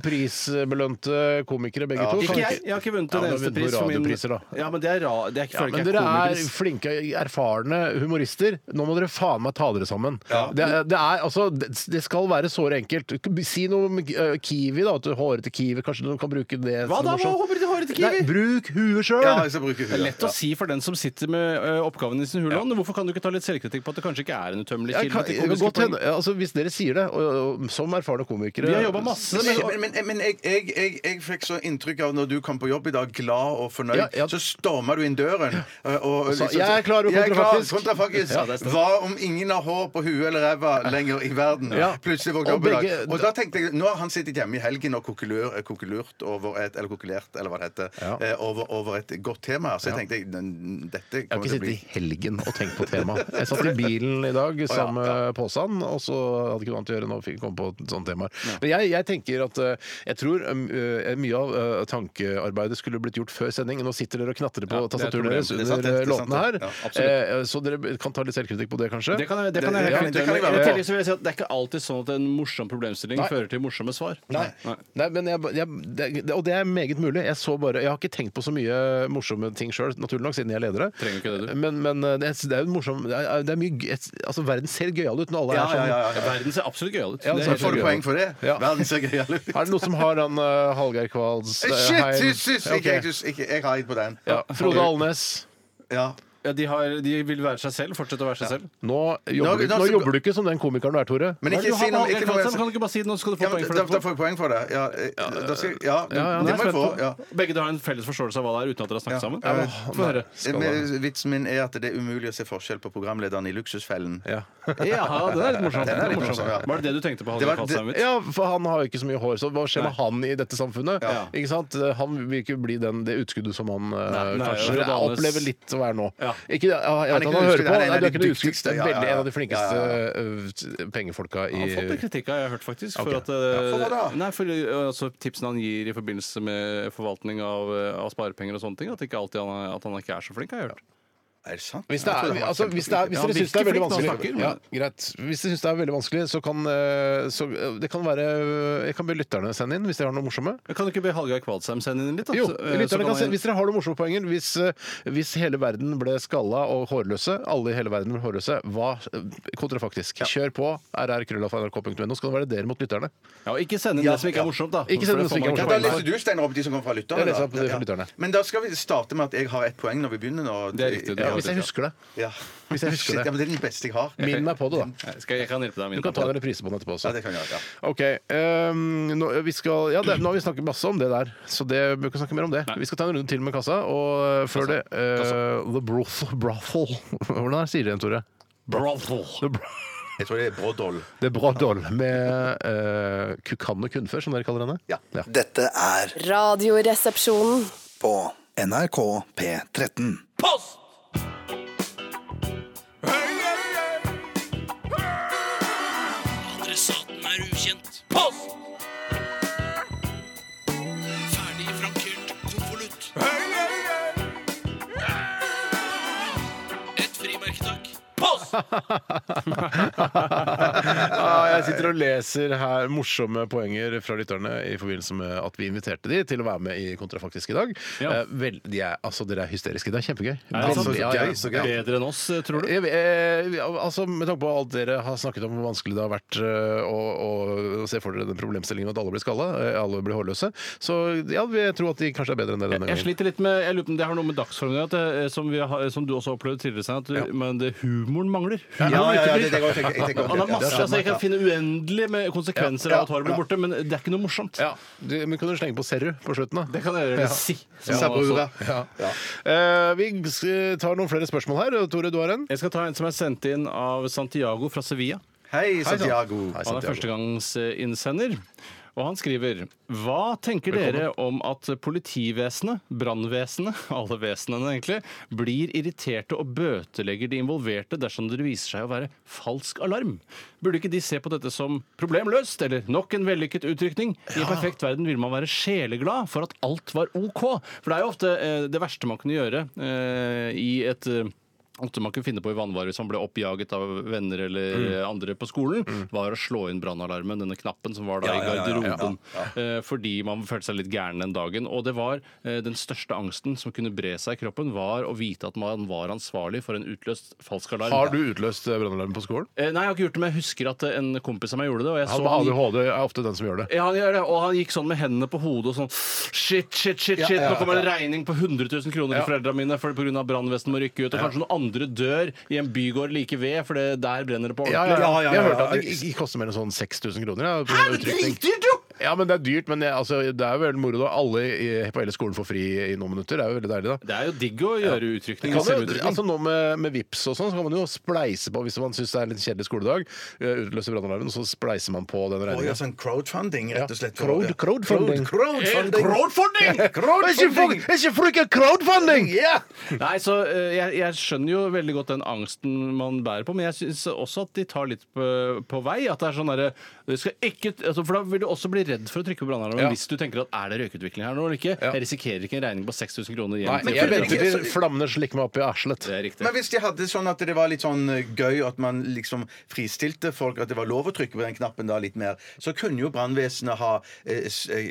prisbelønte komikere begge to. Ikke Kan jeg. Jeg har ikke vunnet en Ja, men eneste du har vunnet pris for min radiopriser, da. Ja, men det er, ra det er ikke Ja, føler men ikke jeg dere er komiker. flinke, erfarne humorister. Nå må dere faen meg ta dere sammen. Det, er, det, er, altså, det, det skal være såre enkelt. Si noe om eh, Kiwi, da. at du- Hårete Kiwi. Kanskje du kan bruke det Hva som sånn. da? noe sånt. Hva håper du håret til Kiwi? Nei, bruk huet sjøl! Ja, jeg skal bruke Det er huet. lett å si for den som sitter med ø, oppgaven i sin huland. Hvorfor kan du ikke ta litt selvkritikk på at det kanskje ikke er en utømmelig Jeg kilde? kan, til jeg kan komiske godt poeng? hende, altså, hvis dere sier det, og, og, som erfarne komikere Vi har jobbet masse med Men, men, men jeg, jeg, jeg, jeg fikk så inntrykk av når du kom på jobb i dag, glad og fornøyd, Ja, ja. så storma du inn døren. eh, Og, og liksom sa, «Jeg er klar over «Jeg er klar, kontrafaktisk». kontrafaktisk. Ja, det er sterkt. Hva om ingen har hår på huet eller ræva lenger i verden? Ja. Plutselig våkna jeg Og opp i dag. begge- Og da tenkte jeg, nå har han sittet hjemme i helgen og kokulur, kokulurt over et, eller kokulert, eller hva det heter, Ja. eh, over, over et godt tema. Så jeg tenkte, «N- dette Jeg har kommer til å ikke sittet bli... i helgen og tenkt på temaet. Jeg satt i bilen i dag sammen med Påsan, og så hadde ikke noe annet å gjøre enn å fikk komme på et sånt tema. Men jeg, jeg tenker at eh, jeg tror eh, mye av eh, tankearbeidet skulle blitt gjort før sending. Nå sitter dere og knatrer på Ja, det er et tastaturet problem. deres Det er sant, under det er eh, sant, låtene her, det. Ja, Eh, så dere kan ta litt selvkritikk på det, kanskje. Det kan jeg, det kan jeg, Det- helt fint det kan jeg gjøre. være I med på. tillegg så vil jeg si at det er ikke alltid sånn at en morsom problemstilling Nei. fører til morsomme svar. Nei. Nei, men jeg, jeg, det, det- og det er meget mulig. Jeg, så bare, jeg har ikke tenkt på så mye morsomme ting sjøl, naturlig nok, siden jeg er leder her. Trenger ikke det, du. Men, men eh, det, er- det er jo en morsom det er, det er mye, g- altså, Verden ser gøyal ut når alle Ja, er ja, sånn. ja, ja. Verden ser absolutt gøyal ut. Ja, Det det er ser helt Får du gøy gøy. ut. poeng for det? Ja. Verden ser gøyal ut. Er det noen som har den uh, Hallgeir Kvals Shit, Heim? shit, shit, Ja, ok. ikke, ikke, ikke, jeg har gitt på den. Ja, Frode Alnes. Ja. Ja, de, har, de vil være seg selv. Fortsette å være seg selv. Nå Nå- jobber, du, nå- nå jobber du ikke som den komikeren du er, Tore. Men Hva er det ikke si du har noe. Ikke med Hallgeir noe Kvalsheim? Kan du ikke bare si noe, så skal du ja, få men poeng for da, da det? får jeg poeng for det. Ja, eh, da skal, ja, ja, ja. det må jeg få. Spent Ja. på. Begge dere har en felles forståelse av hva det er, uten at dere har snakket Ja. sammen? Ja, men- Få høre. Eh, men Vitsen min er at det er umulig å se forskjell på programlederen i Luksusfellen. Ja. Ja, det er litt morsomt. Den er litt Det er morsomt. morsom, ja. Var det det du tenkte på? Det var- Hallgeir Kvalsheim? ja, for han har jo ikke så mye hår, så hva skjer med han i dette samfunnet? Ja. Ikke sant? Han vil ikke bli den, det utskuddet som han eh, Nei, nei, kanskje Frode Alnes- opplever litt å være nå. Ja. Ikke, det- ja, jeg Han er ikke vet at han noe hører utskudd, på, han er Nei, en av du de er ikke noe dyktigste, ja, ja, utskudd. ja. Veldig en av de flinkeste Ja, eh, pengefolka i Han har fått litt kritikk, har jeg hørt, faktisk. For Ok. at, eh, for hva da? nei, for, eh, altså, tipsene han gir i forbindelse med forvaltning av, eh, av sparepenger og sånne ting, at, ikke alltid han, er- at han ikke er så flink, har jeg hørt. Er det sant? Hvis, Jeg det er, trodde han var altså, hvis, det er, hvis Ja, dere syns det er hvilken veldig flink han vanskelig snakker, men- ja, greit. Hvis dere syns det er veldig vanskelig, så kan eh, så, eh, det kan være eh, Jeg kan be lytterne sende inn hvis dere har noe morsomme. Jeg Kan du ikke be Hallgeir Kvadsheim sende inn litt? da? Jo, Så, eh, så lytterne kan se, han- Hvis dere har noen morsomme poenger hvis, eh, hvis hele verden ble skalla og hårløse, alle i hele verden ble hårløse, hva eh, kontrafaktisk? Kjør på. rrkrøllalfa.nrk.no, så kan det være dere mot lytterne. Ja, og ikke send inn det som ikke er morsomt, da. Ikke send inn det som ikke er Ja, morsomt. da leser du, Steinar, opp de som kommer fra lytterne. Jeg leser da. opp de fra Ja. lytterne. Men da skal vi starte med at jeg har ett poeng når vi begynner. Nå. Det er riktig, det Ja, er Hvis jeg husker det. Ja. Hvis jeg husker Shit, det. ja, men det er den beste jeg har. Minn meg på det, da. Nei, Skal jeg, jeg kan hjelpe deg med Du kan ta en reprise på den etterpå også. Ja, det kan jeg gjøre. Ja. Ok, ehm, nå, vi skal, ja, det, nå har vi snakket masse om det der, så det vi bør ikke snakke mer om det. Vi skal ta en runde til med kassa, og eh, før det eh, The brothel, brothel. Hvordan er det sier det igjen, Tore? Brothel. The bro- Jeg tror det er Brodol. The Brothel med uh, Kukan og Kunfer, som dere kaller henne. Ja. Dette er Radioresepsjonen. på NRK P13. Adressaten er ukjent. Post! Ferdig frankert konvolutt. Et frimerke, takk. Post! Ah, jeg sitter og leser her morsomme poenger fra lytterne i forbindelse med at vi inviterte de til å være med i Kontrafaktisk i dag. Ja. Eh, vel, de er, altså, dere er hysteriske. Det er kjempegøy. det sant? Altså, ja, ja. Så gøy. Bedre enn oss, eh, tror du? Jeg, eh, altså, med tanke på alt dere har snakket om hvor vanskelig det har vært eh, å, å, å se for dere den problemstillingen med at alle blir skalla, eh, alle blir hårløse, så ja, vi tror at de kanskje er bedre enn det denne Jeg gangen. sliter litt med jeg lurer på om det har noe med dagsformen å gjøre, at det- eh, som, vi har- som du også opplevde tidligere, Stein, at du- men det, humoren mangler. Ja, Humoren ja, ja, uteblir. det, det, jeg tenker, jeg tenker Han har masse, altså Jeg ja. kan finne uendelig med konsekvenser av at håret blir borte, men det er ikke noe morsomt. Ja, du, men Kan du slenge på Serru på slutten, da? Det kan jeg gjøre. Si. som han også- Serru, ja. Eh, vi s- tar noen flere spørsmål her. Tore, du har en? Jeg skal ta en som er sendt inn av Santiago fra Sevilla. Hei, Santiago. Hei, Han er Santiago. førstegangsinnsender. Og han skriver Hva tenker dere om at politivesenet, brannvesenet, alle vesenene egentlig, blir irriterte og bøtelegger de involverte dersom det viser seg å være falsk alarm? Burde ikke de se på dette som problemløst, eller nok en vellykket utrykning? I en perfekt verden vil man være sjeleglad for at alt var OK. For det er jo ofte eh, det verste man kunne gjøre eh, i et eh, Alt man kunne finne på i vanvare hvis man ble oppjaget av venner eller Mm. eh, andre på skolen, var å slå inn brannalarmen, denne knappen som var da i garderoben. Eh, Fordi man følte seg litt gæren den dagen. Og det var eh, den største angsten som kunne bre seg i kroppen, var å vite at man var ansvarlig for en utløst falsk alarm. Har du utløst eh, brannalarmen på skolen? Eh, Nei, jeg har ikke gjort det, men jeg husker at eh, en kompis av meg gjorde det. Og jeg Han så med ADHD er ofte den som gjør det. ja, han gjør det, og han gikk sånn med hendene på hodet og sånn Shit, shit, shit, shit, nå kommer det en regning på 100 000 kroner til foreldrene mine for pga. brannvesenet må rykke ut, og kanskje noen andre dør i en bygård like ved, for det, der brenner det på Ja, ja, Ja, ja, ja, ja, Jeg ja, har hørt ja. at det ikke koster mer enn sånn 6000 kroner. Ja, på grunn av utrykning. ja, men det er dyrt, men jeg, altså, det er jo veldig moro da. Alle i, på hele skolen får fri i noen minutter. Det er jo veldig deilig, da. Det er jo digg å gjøre utrykning. Kan jo, selvutrykning. altså nå med, med VIPs og sånn, så kan man jo spleise på hvis man syns det er en litt kjedelig skoledag. eh, Utløse brannalarmen, og så spleiser man på den Å, ja, regninga. sånn crowdfunding, rett og slett. Crowd- Ja. crowdfunding. Crowd- crowdfunding. Crowdfunding! Crowdfunding! ikke frukken crowdfunding! Ja! Nei, så eh, jeg, jeg skjønner jo veldig godt den angsten man bærer på, men jeg syns også at de tar litt på, på vei. At det er sånn derre du skal ikke- altså, For da vil du også bli redd for å trykke på brannalarmen Ja. hvis du tenker at er det røykutvikling her nå eller ikke? Jeg risikerer ikke en regning på 6000 kroner hjem Nei, til jeg foreldrene. venter til flammene slikker meg opp i arslet. Det er riktig. Men hvis de hadde sånn at det var litt sånn gøy at man liksom fristilte folk, at det var lov å trykke på den knappen da litt mer, så kunne jo brannvesenet ha eh,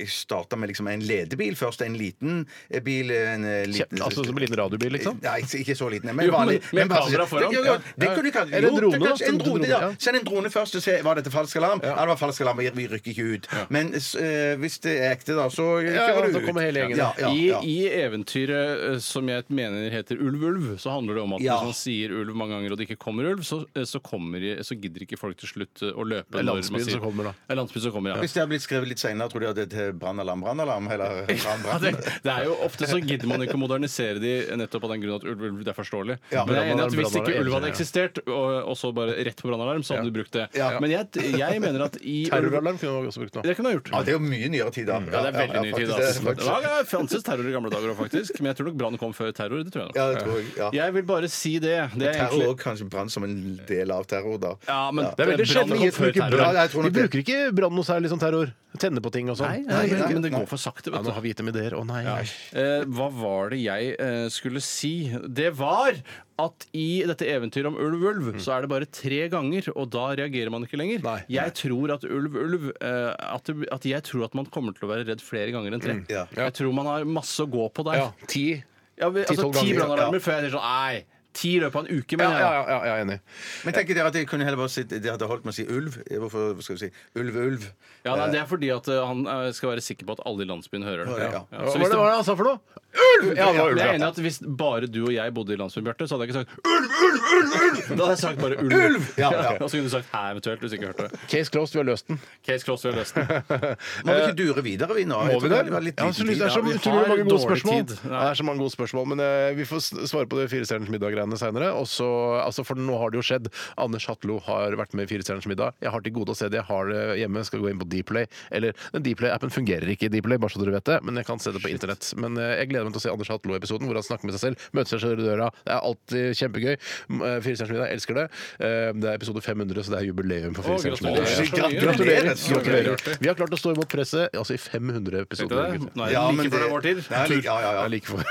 starta med liksom en ledebil først, en liten eh, bil en eh, liten, Kjem- altså som en liten radiobil, liksom? Nei, ikke- ikke så liten. Men Jo, vanlig. men- med men bare- kamera foran. Det, jo, jo, det Ja. kunne de kanskje Eller en gjort. drone, det da. kanskje- En drone, ja. Ja. Send en drone først og se var dette falsk alarm. Ja, det var falsk alarm, vi rykker ikke ut. Men s- eh, hvis det er ekte, da, så eh, ja, kjører du da ut. kommer hele gjengen. Ja, ja, I, ja. I eventyret eh, som jeg mener heter Ulv, ulv, så handler det om at Ja. hvis man sier ulv mange ganger og det ikke kommer ulv, så, eh, så, kommer, de- så gidder ikke folk til slutt eh, å løpe. er når man landsbyen sier- som kommer, da. Det er landsbyen som kommer, ja. Hvis det hadde blitt skrevet litt seinere, tror du at det er eh, brannalarm, brannalarm? Eller brann, Ja, brann? det, det er jo Ofte så gidder man ikke å modernisere de eh, nettopp av den grunn at ulv, ulv det er forståelig. Ja, men jeg er enig i at brannalarm, Hvis ikke brannalarm, ulv hadde ja. eksistert, og, og så bare rett på brannalarm, så hadde du brukt det. Ja. Men jeg, jeg mener at i ulv- Terroralarm kunne man også brukt nå. Det kunne jeg gjort. Ja, det er jo mye nyere tid, da. Ja, det er veldig ny tid. faktisk, det er Altså. faktisk- Det var- fantes terror i gamle dager òg, faktisk. Men jeg tror nok brann kom før terror. Det tror jeg nok. Ja, det tror jeg. Ja. Jeg vil bare si det. Det er Terror egentlig og kanskje brann som en del av terror, da. Ja, men Det er veldig brann sjelden kom ingen som før bruker terror. Ja, brann. jeg tror Vi nok det. bruker ikke brann noe særlig som terror. Tenne på ting og sånn. Nei, nei, Nei, nei, men det nei. går for sakte, Ja, vet nå du. har vi gitt dem ideer. Å nei. Eh, hva var det jeg eh, skulle si? Det var at i dette eventyret om ulv, ulv, så er det bare tre ganger, og da reagerer man ikke lenger. Nei. Jeg tror at ulv, ulv eh, at, det- at jeg tror at man kommer til å være redd flere ganger enn tre. ja. Jeg tror man har masse å gå på der. Ja, ti. Ja, vi, altså, Ti-tolv ti ganger. brannalarmer før jeg sier sånn Nei, ti i løpet av en uke, Ja, mener jeg. ja, ja, ja, jeg er enig. Men tenker dere at de kunne heller bare si, de hadde holdt med å si ulv? Hvorfor skal vi si ulv, ulv? Ja, nei, Det er fordi at eh, han eh, skal være sikker på at alle i landsbyen hører det. Ja. Hva Så var hvis det, det hva var det han sa for noe? Ulv! Ja, det var Men ulv. jeg er ja. enig i at Hvis bare du og jeg bodde i landsbyen, Bjarte, så hadde jeg ikke sagt ulv, ulv, ulv! ulv! Da hadde jeg sagt bare ulv. Ja, ja. Og så kunne du sagt hæ, eventuelt, hvis du ikke hørte det. Case closed, vi har løst den. Case cross, vi har løst den. Må vi ikke dure videre, vi nå? Eh, Jeg Må vi tror det? det var litt Ja, liten så lyst- tid. det er så Ja, vi utrolig har mange gode dårlig spørsmål. tid. Det er så mange gode spørsmål, men eh, vi får s- svare på det i Firestjerners middag-greiene seinere. Altså, for nå har det jo skjedd. Anders Hatlo har vært med i Firestjerners middag. Jeg har til gode å se det. Jeg har det hjemme. Skal gå inn på Dplay. Eller den Dplay-appen fungerer ikke i Dplay, bare så dere vet det, men jeg kan se det på internett. Men eh, jeg gleder meg til å se Anders Hatlo-episoden hvor han snakker med seg selv, møter seg selv i døra. Det er alltid kjempegøy. M- eh, Firestjerners middag, jeg elsker det. Eh, Det er episode 500, så det er jubileum for Firestjerners gratulerer. middag. Gratulerer. Gratulerer. Gratulerer. Gratulerer. Vi har klart å stå imot presset altså i 500 Tenkte episoder. jeg det? gutter. Nå er Ja, det men like før det er vår det- tid. det er like- Ja, ja, Det ja. er like for.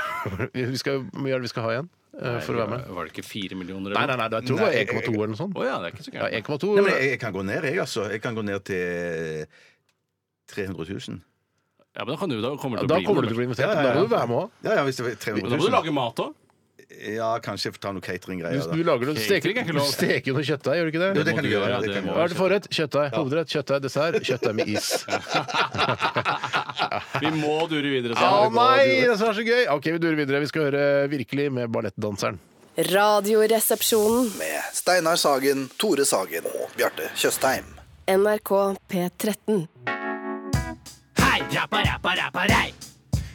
Vi skal, hvor mye er det vi skal ha igjen eh, for å være med? Var det ikke fire millioner? Nei, eller nei, noe? nei, jeg tror det var 1,2 eller noe sånt. Å ja, det er ikke så Ja, gærent. 1,2. Nei, men jeg, jeg kan gå ned, jeg, altså. Jeg kan gå ned til 300 000. Ja, men da, kan du, da kommer Ja, det til Da å bli kommer du noe. til å bli invitert. men Da må du være med òg. Ja, ja, hvis det var Da 300 må du 000. lage mat òg. Ja, kanskje ta noe Du, cateringgreier. du da. lager noe, steker, Catering er ikke du lov. steker noe kjøttdeig, gjør du ikke Jo, det? det kan du gjøre. Ja, det kan det du må Hva gjøre. er det forrett? Kjøttdeig, hovedrett, kjøttdeig, dessert, kjøttdeig med is. Vi må dure videre. Å sa jeg. nei, det er så gøy! OK, vi durer videre. Vi skal høre Virkelig med ballettdanseren. Radioresepsjonen. Med Steinar Sagen, Tore Sagen og Bjarte Tjøstheim. NRK P13. Hei, rappa, rappa, rappa, rei.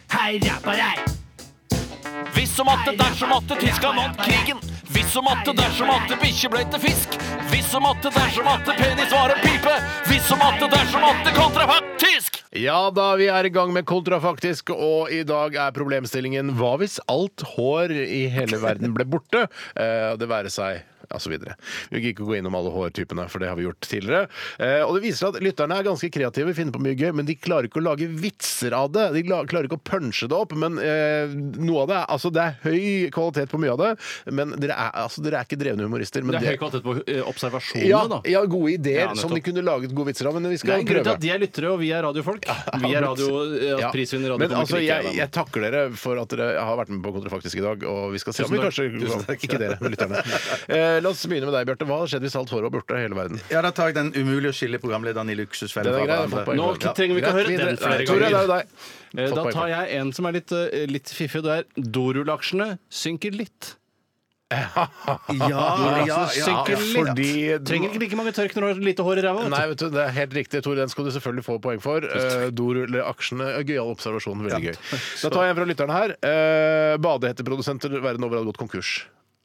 Hei, rappa, rei. Hvis som atte, dersom atte, Tyskland vant krigen. Hvis som atte, dersom atte, bikkje ble til fisk. Hvis som atte, dersom atte, penis var en pipe. Hvis som atte, dersom atte, kontrafaktisk. Ja da, vi er i gang med kontrafaktisk, og i dag er problemstillingen hva hvis alt hår i hele verden ble borte? Eh, det være seg ja, så videre. Vi gikk ikke gå innom alle hårtypene, for det har vi gjort tidligere. Eh, og det viser at lytterne er ganske kreative, finner på mye gøy, men de klarer ikke å lage vitser av det. De la- klarer ikke å punche det opp, men eh, noe av det er Altså, det er høy kvalitet på mye av det, men dere er, altså, dere er ikke drevne humorister. Men Det er høy det- kvalitet på eh, observasjonene, ja, da. ja, gode ideer Ja, som de nettopp. kunne laget gode vitser av, men vi Det er skal en grunn til prøve. at de er lyttere, og vi er radiofolk. Vi er radio, eh, Ja. prisvinner Men radiokomikere. altså, ikke jeg, jeg, da. jeg takker dere for at dere har vært med på Kontrafaktisk i dag. Og vi skal se om vi Tusen kanskje Ikke dere, men lytterne. Eh, la oss begynne med deg, Bjarte. Hva hadde skjedd hvis alt håret var borte i hele verden? Ja, da tar jeg den umulige å skille programlederen i luksusfellen Den er fra grei, jeg har fått hverandre. poeng Nå for den. trenger vi ikke Greit, høre den videre. flere Tore, det ganger. er jo deg. Eh, Da Fått poeng for tar jeg en som er litt, eh, litt fiffig. og Det er Dorullaksjene synker litt. Ja, ja, ja. synker litt. fordi Trenger ikke like mange tørk når du har lite hår i ræva. vet du. Nei, vet du, det er helt riktig, Tore. Den skal du selvfølgelig få poeng for. Uh, Dorullaksjene eh, Gøyal observasjon. Veldig gøy. Da tar jeg en fra lytterne her. Eh, Badehetteprodusenter verden over hadde gått konkurs.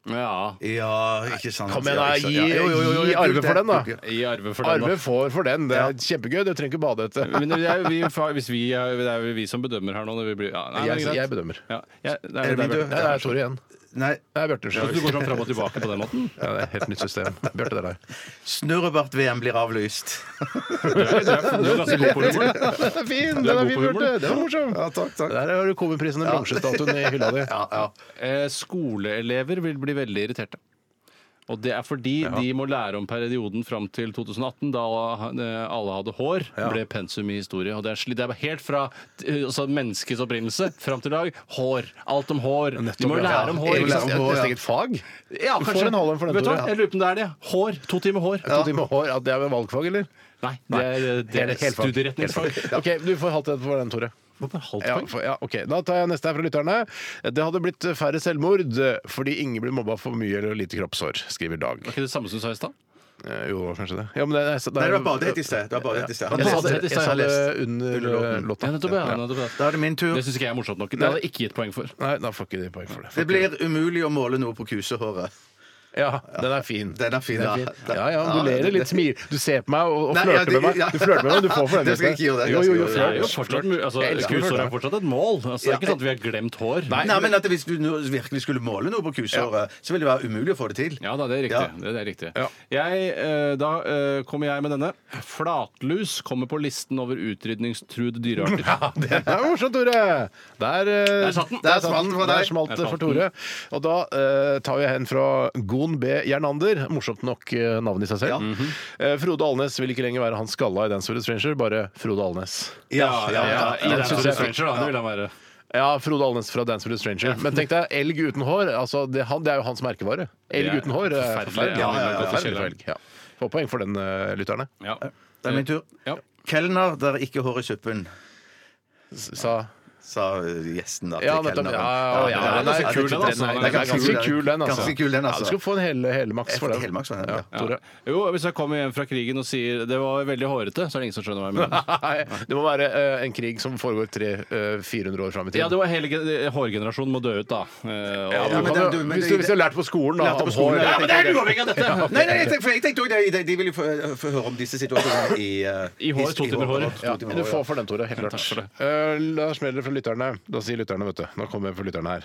Ja, Ja, ikke sant. Kom igjen, Ja, da. ikke sant. Gi, Ja, jo, jo, jo, jo, gi arve kult, det. for den, da. Kult, i arve for den, Arve da. får for den. Det er kjempegøy. Du trenger ikke badehette. Men det er, jo vi, fa- hvis vi er, det er jo vi som bedømmer her nå. Når vi blir, ja, nei, Jeg, det er greit. jeg bedømmer. Ja, jeg, nei, Er det det min tur? er Nei, det er Tore igjen. ja. Nei, Det er Bjarte. Bjarte. Du går sånn fram og tilbake på den måten? Ja, det er et helt nytt system. Bjarte, det er deg. Snurrebart-VM blir avlyst. Du er, du er, du er ganske god på humor. Den er fin! den er fin, Bjarte. Den var morsom. Ja, takk, takk. Der har du Komiprisen, den bronsestatuen i hylla di. Ja, ja. Eh, skoleelever vil bli veldig irriterte. Og det er fordi de må lære om perioden fram til 2018, da eh, alle hadde hår, ble pensum i historie. Og det er, sli- det er helt fra eh, altså, menneskets opprinnelse fram til i dag. Hår. Alt om hår. de må jo lære om hår. Eget- ikke sant? Det er et eget fag. Ja, Du får kanskje. en Holland for den, Vet du hva? Tore. Jeg lurer på om det er det. Hår. To timer hår. To timer hår. Ja, det er vel valgfag, eller? Nei, det er, det er Hele- hele fag. studieretningsfag. Hele fag. OK, du får halvt rett for den, Tore. Hvorfor halvt Ja, poeng? for, ja, ok. Da tar jeg neste her fra lytterne. Det hadde blitt færre selvmord fordi ingen blir mobba for mye eller lite kroppshår, skriver Dag. Var ikke det samme som du sa i stad? Eh, Jo, kanskje det. Ja, men det, det, Nei, det var badehett i sted. Det var badehett i sted. Jeg sa det, Badehett i jeg sted, sa jeg har det lest. under eh, låta. Ja, nettopp, ja. Ja. nettopp, Da ja. er det min tur. Det syns ikke jeg er morsomt nok. Det hadde jeg ikke gitt poeng for. Nei, da får ikke de poeng for det. Det blir umulig å måle noe på kusehåret. Ja, den er fin. Den er fin, Den ja. fin. Ja, ja, du Ja, ler det- litt smil. Du ser på meg og, og Nei, ja, flørter med det- meg. ja. Du flørter med meg, men du får for Det skal jeg ikke gjøre deg, Jo, jo, det jo, skal jeg Det er flørt. jo fortsatt, mu- altså, Jeg elsker Kusår flørt. er fortsatt et mål. Altså, det er ikke sånn at vi har glemt hår. Nei, men at Hvis du nå virkelig skulle måle noe på kusåret, så ville det være umulig å få det til. Ja da, det er riktig. Ja. Det, det er riktig. Jeg, eh, da eh, kommer jeg med denne. Flatlus kommer på listen over utrydningstruede dyrearter. Det er morsomt, Tore! Der, eh, Der satt den. der Der smalt den for Der deg. smalt Der det for smalt Tore. Og da eh, tar vi hen fra Gon B. Jernander. Morsomt nok eh, navn i seg selv. Mhm. Eh, Frode Alnes vil ikke lenger være han skalla i Dance with a Stranger, bare Frode Alnes. I ja, den synes store jeg fikk- Stranger, da. Det vil han være. Ja, Frode Alnes fra Dance with a Stranger. Men tenk deg elg uten hår. Altså, det, han, det er jo hans merkevare. Elg Det er uten hår. er forferdelig. Ja, ja, ja, ja. Forferdelig for elg. Ja. Få poeng for den, eh, lytterne. Ja. Det er min tur. Ja. Kelner, der er ikke hår i suppen, Sa sa eh, gjesten da til Ja, nettopp. kelneren. Ja, ja, ja, Ja, den er ganske kul, den, altså. Den Den er ganske kul, den, altså. Ganske kul, den, Ja, du altså. skal få en hel, helmaks for den. Helmaks, den, ja. Ja, Tore. Jo, hvis jeg kommer hjem fra krigen og sier det var veldig hårete, så er det ingen som skjønner hva jeg mener. Nei, det må være eh, en krig som foregår tre, eh, 400 år fram i tid. Ja, det var hele ge- hårgenerasjonen må dø ut, da. Eh, og- Ja, Ja, du men kan det- jo- men hvis, det- du, hvis du har lært på skolen, da. Lærte på om skolen, hår- ja, men det er uavhengig av dette! Nei, nei, jeg tenkte, for jeg tenkte også det. De- De vil jo få, øh, få høre om disse situasjonene i eh, I hår, to timer hår. to timer Du hår, får for den, Tore. Helt klart. Eh, da smeller det fra lytterne. Da sier lytterne, vet du. Nå kommer jeg for lytterne her.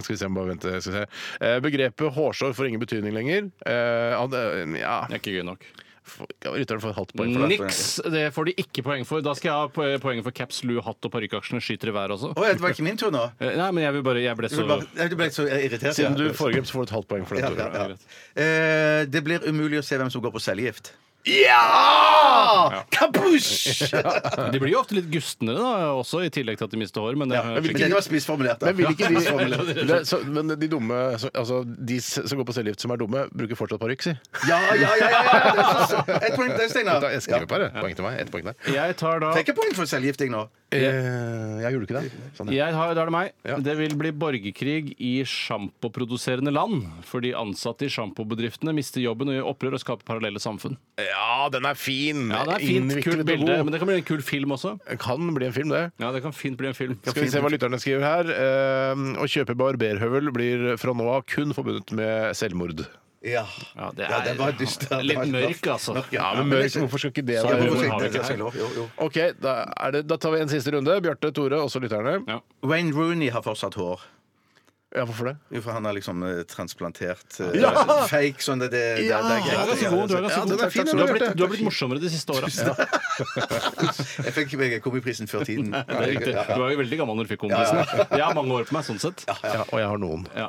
skal vi se, jeg må bare vente. Skal vi se. Eh, begrepet hårsår får ingen betydning lenger. Eh, ja, det- ja, Det er ikke gøy nok. f- ja, Lytterne får et halvt poeng for det. Niks! Det får de ikke poeng for. Da skal jeg ha po- poenget for caps, lue, hatt og parykkaksjene skyter i været også. Å, ja, det var ikke min tur nå? Eh, Nei, men jeg vil bare Jeg ble Du så bare- jeg ble så irritert. Siden ja. du foregrep, så får du et halvt poeng for det, Ja, Tore. ja, ja. Eh, Det blir umulig å se hvem som går på cellegift. Ja! Kabush! De blir jo ofte litt gustnere, da, også, i tillegg til at de mister hår. Men det er Men skikkelig- den var spissformulert. da. Men vil ikke Ja, de, det, er så, men de dumme så, Altså, de s- som går på cellegift som er dumme, bruker fortsatt parykk, si. ja, ja, ja, ja, ja. Det er så- så- Et poeng til deg, Steinar. Da- Jeg skriver på det. Poeng til meg. Ett poeng der. Jeg tar da Tenk et poeng for cellegifting nå. Eh, Jeg gjorde ikke det. Sånn, ja. jeg har, da er det meg. Det vil bli borgerkrig i sjampoproduserende land. Fordi ansatte i sjampobedriftene mister jobben og gjør opprør og skaper parallelle samfunn. ja, den er fin! Ja, det er fint, Innviklet kult og bilde, god. men det kan bli en kul film også. Det kan bli en film, det. Ja, det kan fint bli en film. Skal vi se hva lytterne skriver her. Eh, Å kjøpe barberhøvel blir fra nå av kun forbundet med selvmord. Ja, Ja, det er Ja, den var dyster. Den litt var- mørk, altså. Ja, men mørk, hvorfor skal ikke det Ja, være hvorfor det ikke? har vi Det er ikke. ikke lov. Jo, jo. OK, da, er det, da tar vi en siste runde. Bjarte, Tore, også lytterne. Ja. Wayne Rooney har fortsatt hår. Ja, hvorfor det? Jo, for han er liksom eh, transplantert eh, Ja! fake sånn det, det, det, det er Du greit. er ganske god. Du er ganske Ja, god. den er fin, du, den har er blitt, fin. du har blitt morsommere de siste åra. Jeg fikk jeg kom i prisen før tiden. Det er riktig. Du var jo veldig gammel når du fikk komprisen. Jeg har mange år på meg sånn sett. Ja, og jeg har noen. Ja.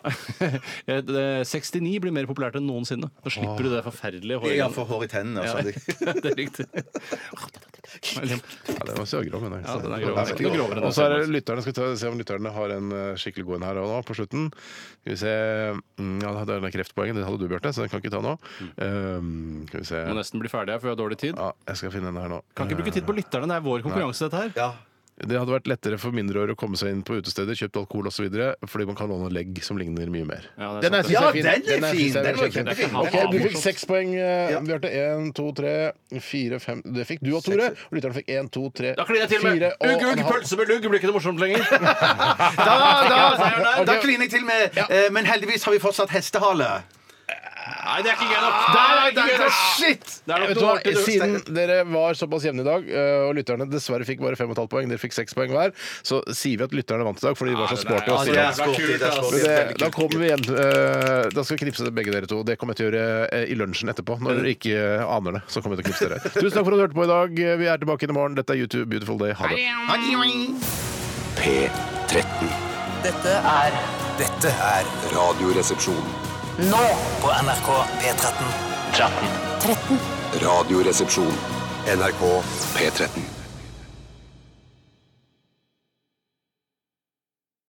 Eh, det- 69 blir mer populært enn noensinne. Da slipper du det forferdelige håret. Jeg har for hår i tennene. Ja, Altså. det er riktig. Ja, den var søgrå, men Ja, den er Den er grov. veldig Den er grovere enn Og så er det den. lytterne, skal vi ta, se om lytterne har en eh, skikkelig god en her og nå på slutten. Skal vi se Mm, Ja, det er kreftpoenget, det hadde du, Bjarte, så den kan jeg ikke ta nå. Eh, skal vi se Mm. Må nesten bli ferdig her, for vi har dårlig tid. Ja, jeg skal finne den her nå. Eh, Kan ikke bruke tid på lytterne. Det er vår konkurranse, dette her. Ja. Det hadde vært lettere for mindreårige å komme seg inn på utesteder, kjøpt alkohol osv., fordi man kan låne legg som ligner mye mer. Ja, det er sant. synes jeg Ja, den er fin. synes jeg Den var kjempefin. kjempefin. Ok, Ja, Du morsomt. fikk seks poeng, eh, Bjarte. Én, to, tre, fire, fem Det fikk du og Tore. Og lytteren fikk én, to, tre, Da kliner jeg til med fire og ugg, en ugg, halv. pølse med lugg. Blir ikke det morsomt lenger? Da, da, Ok. da kliner jeg til med eh, Men heldigvis har vi fortsatt hestehale. Nei, det er ikke gøy nok. Der er det ikke gøy nok. Shit! Det er nok Vet du noe hva, artig, du. Siden dere var såpass jevne i dag, eh, og lytterne dessverre fikk bare 5,5 poeng, dere fikk 6 poeng hver, så sier vi at lytterne vant i dag fordi de var så sporty. altså. og det er stille. sporty, det er sporty. Men det, da kommer vi hjem eh, Da skal jeg knipse til begge dere to. Det kommer jeg til å gjøre eh, i lunsjen etterpå. Når dere ikke eh, aner det, så kommer jeg til å knipse dere. Tusen takk for at du hørte på i dag. Vi er tilbake inn i morgen. Dette er YouTube Beautiful Day. Ha det. P13. Dette er Dette er Radioresepsjon. nå på NRK P13. 13. Radioresepsjon. NRK P13.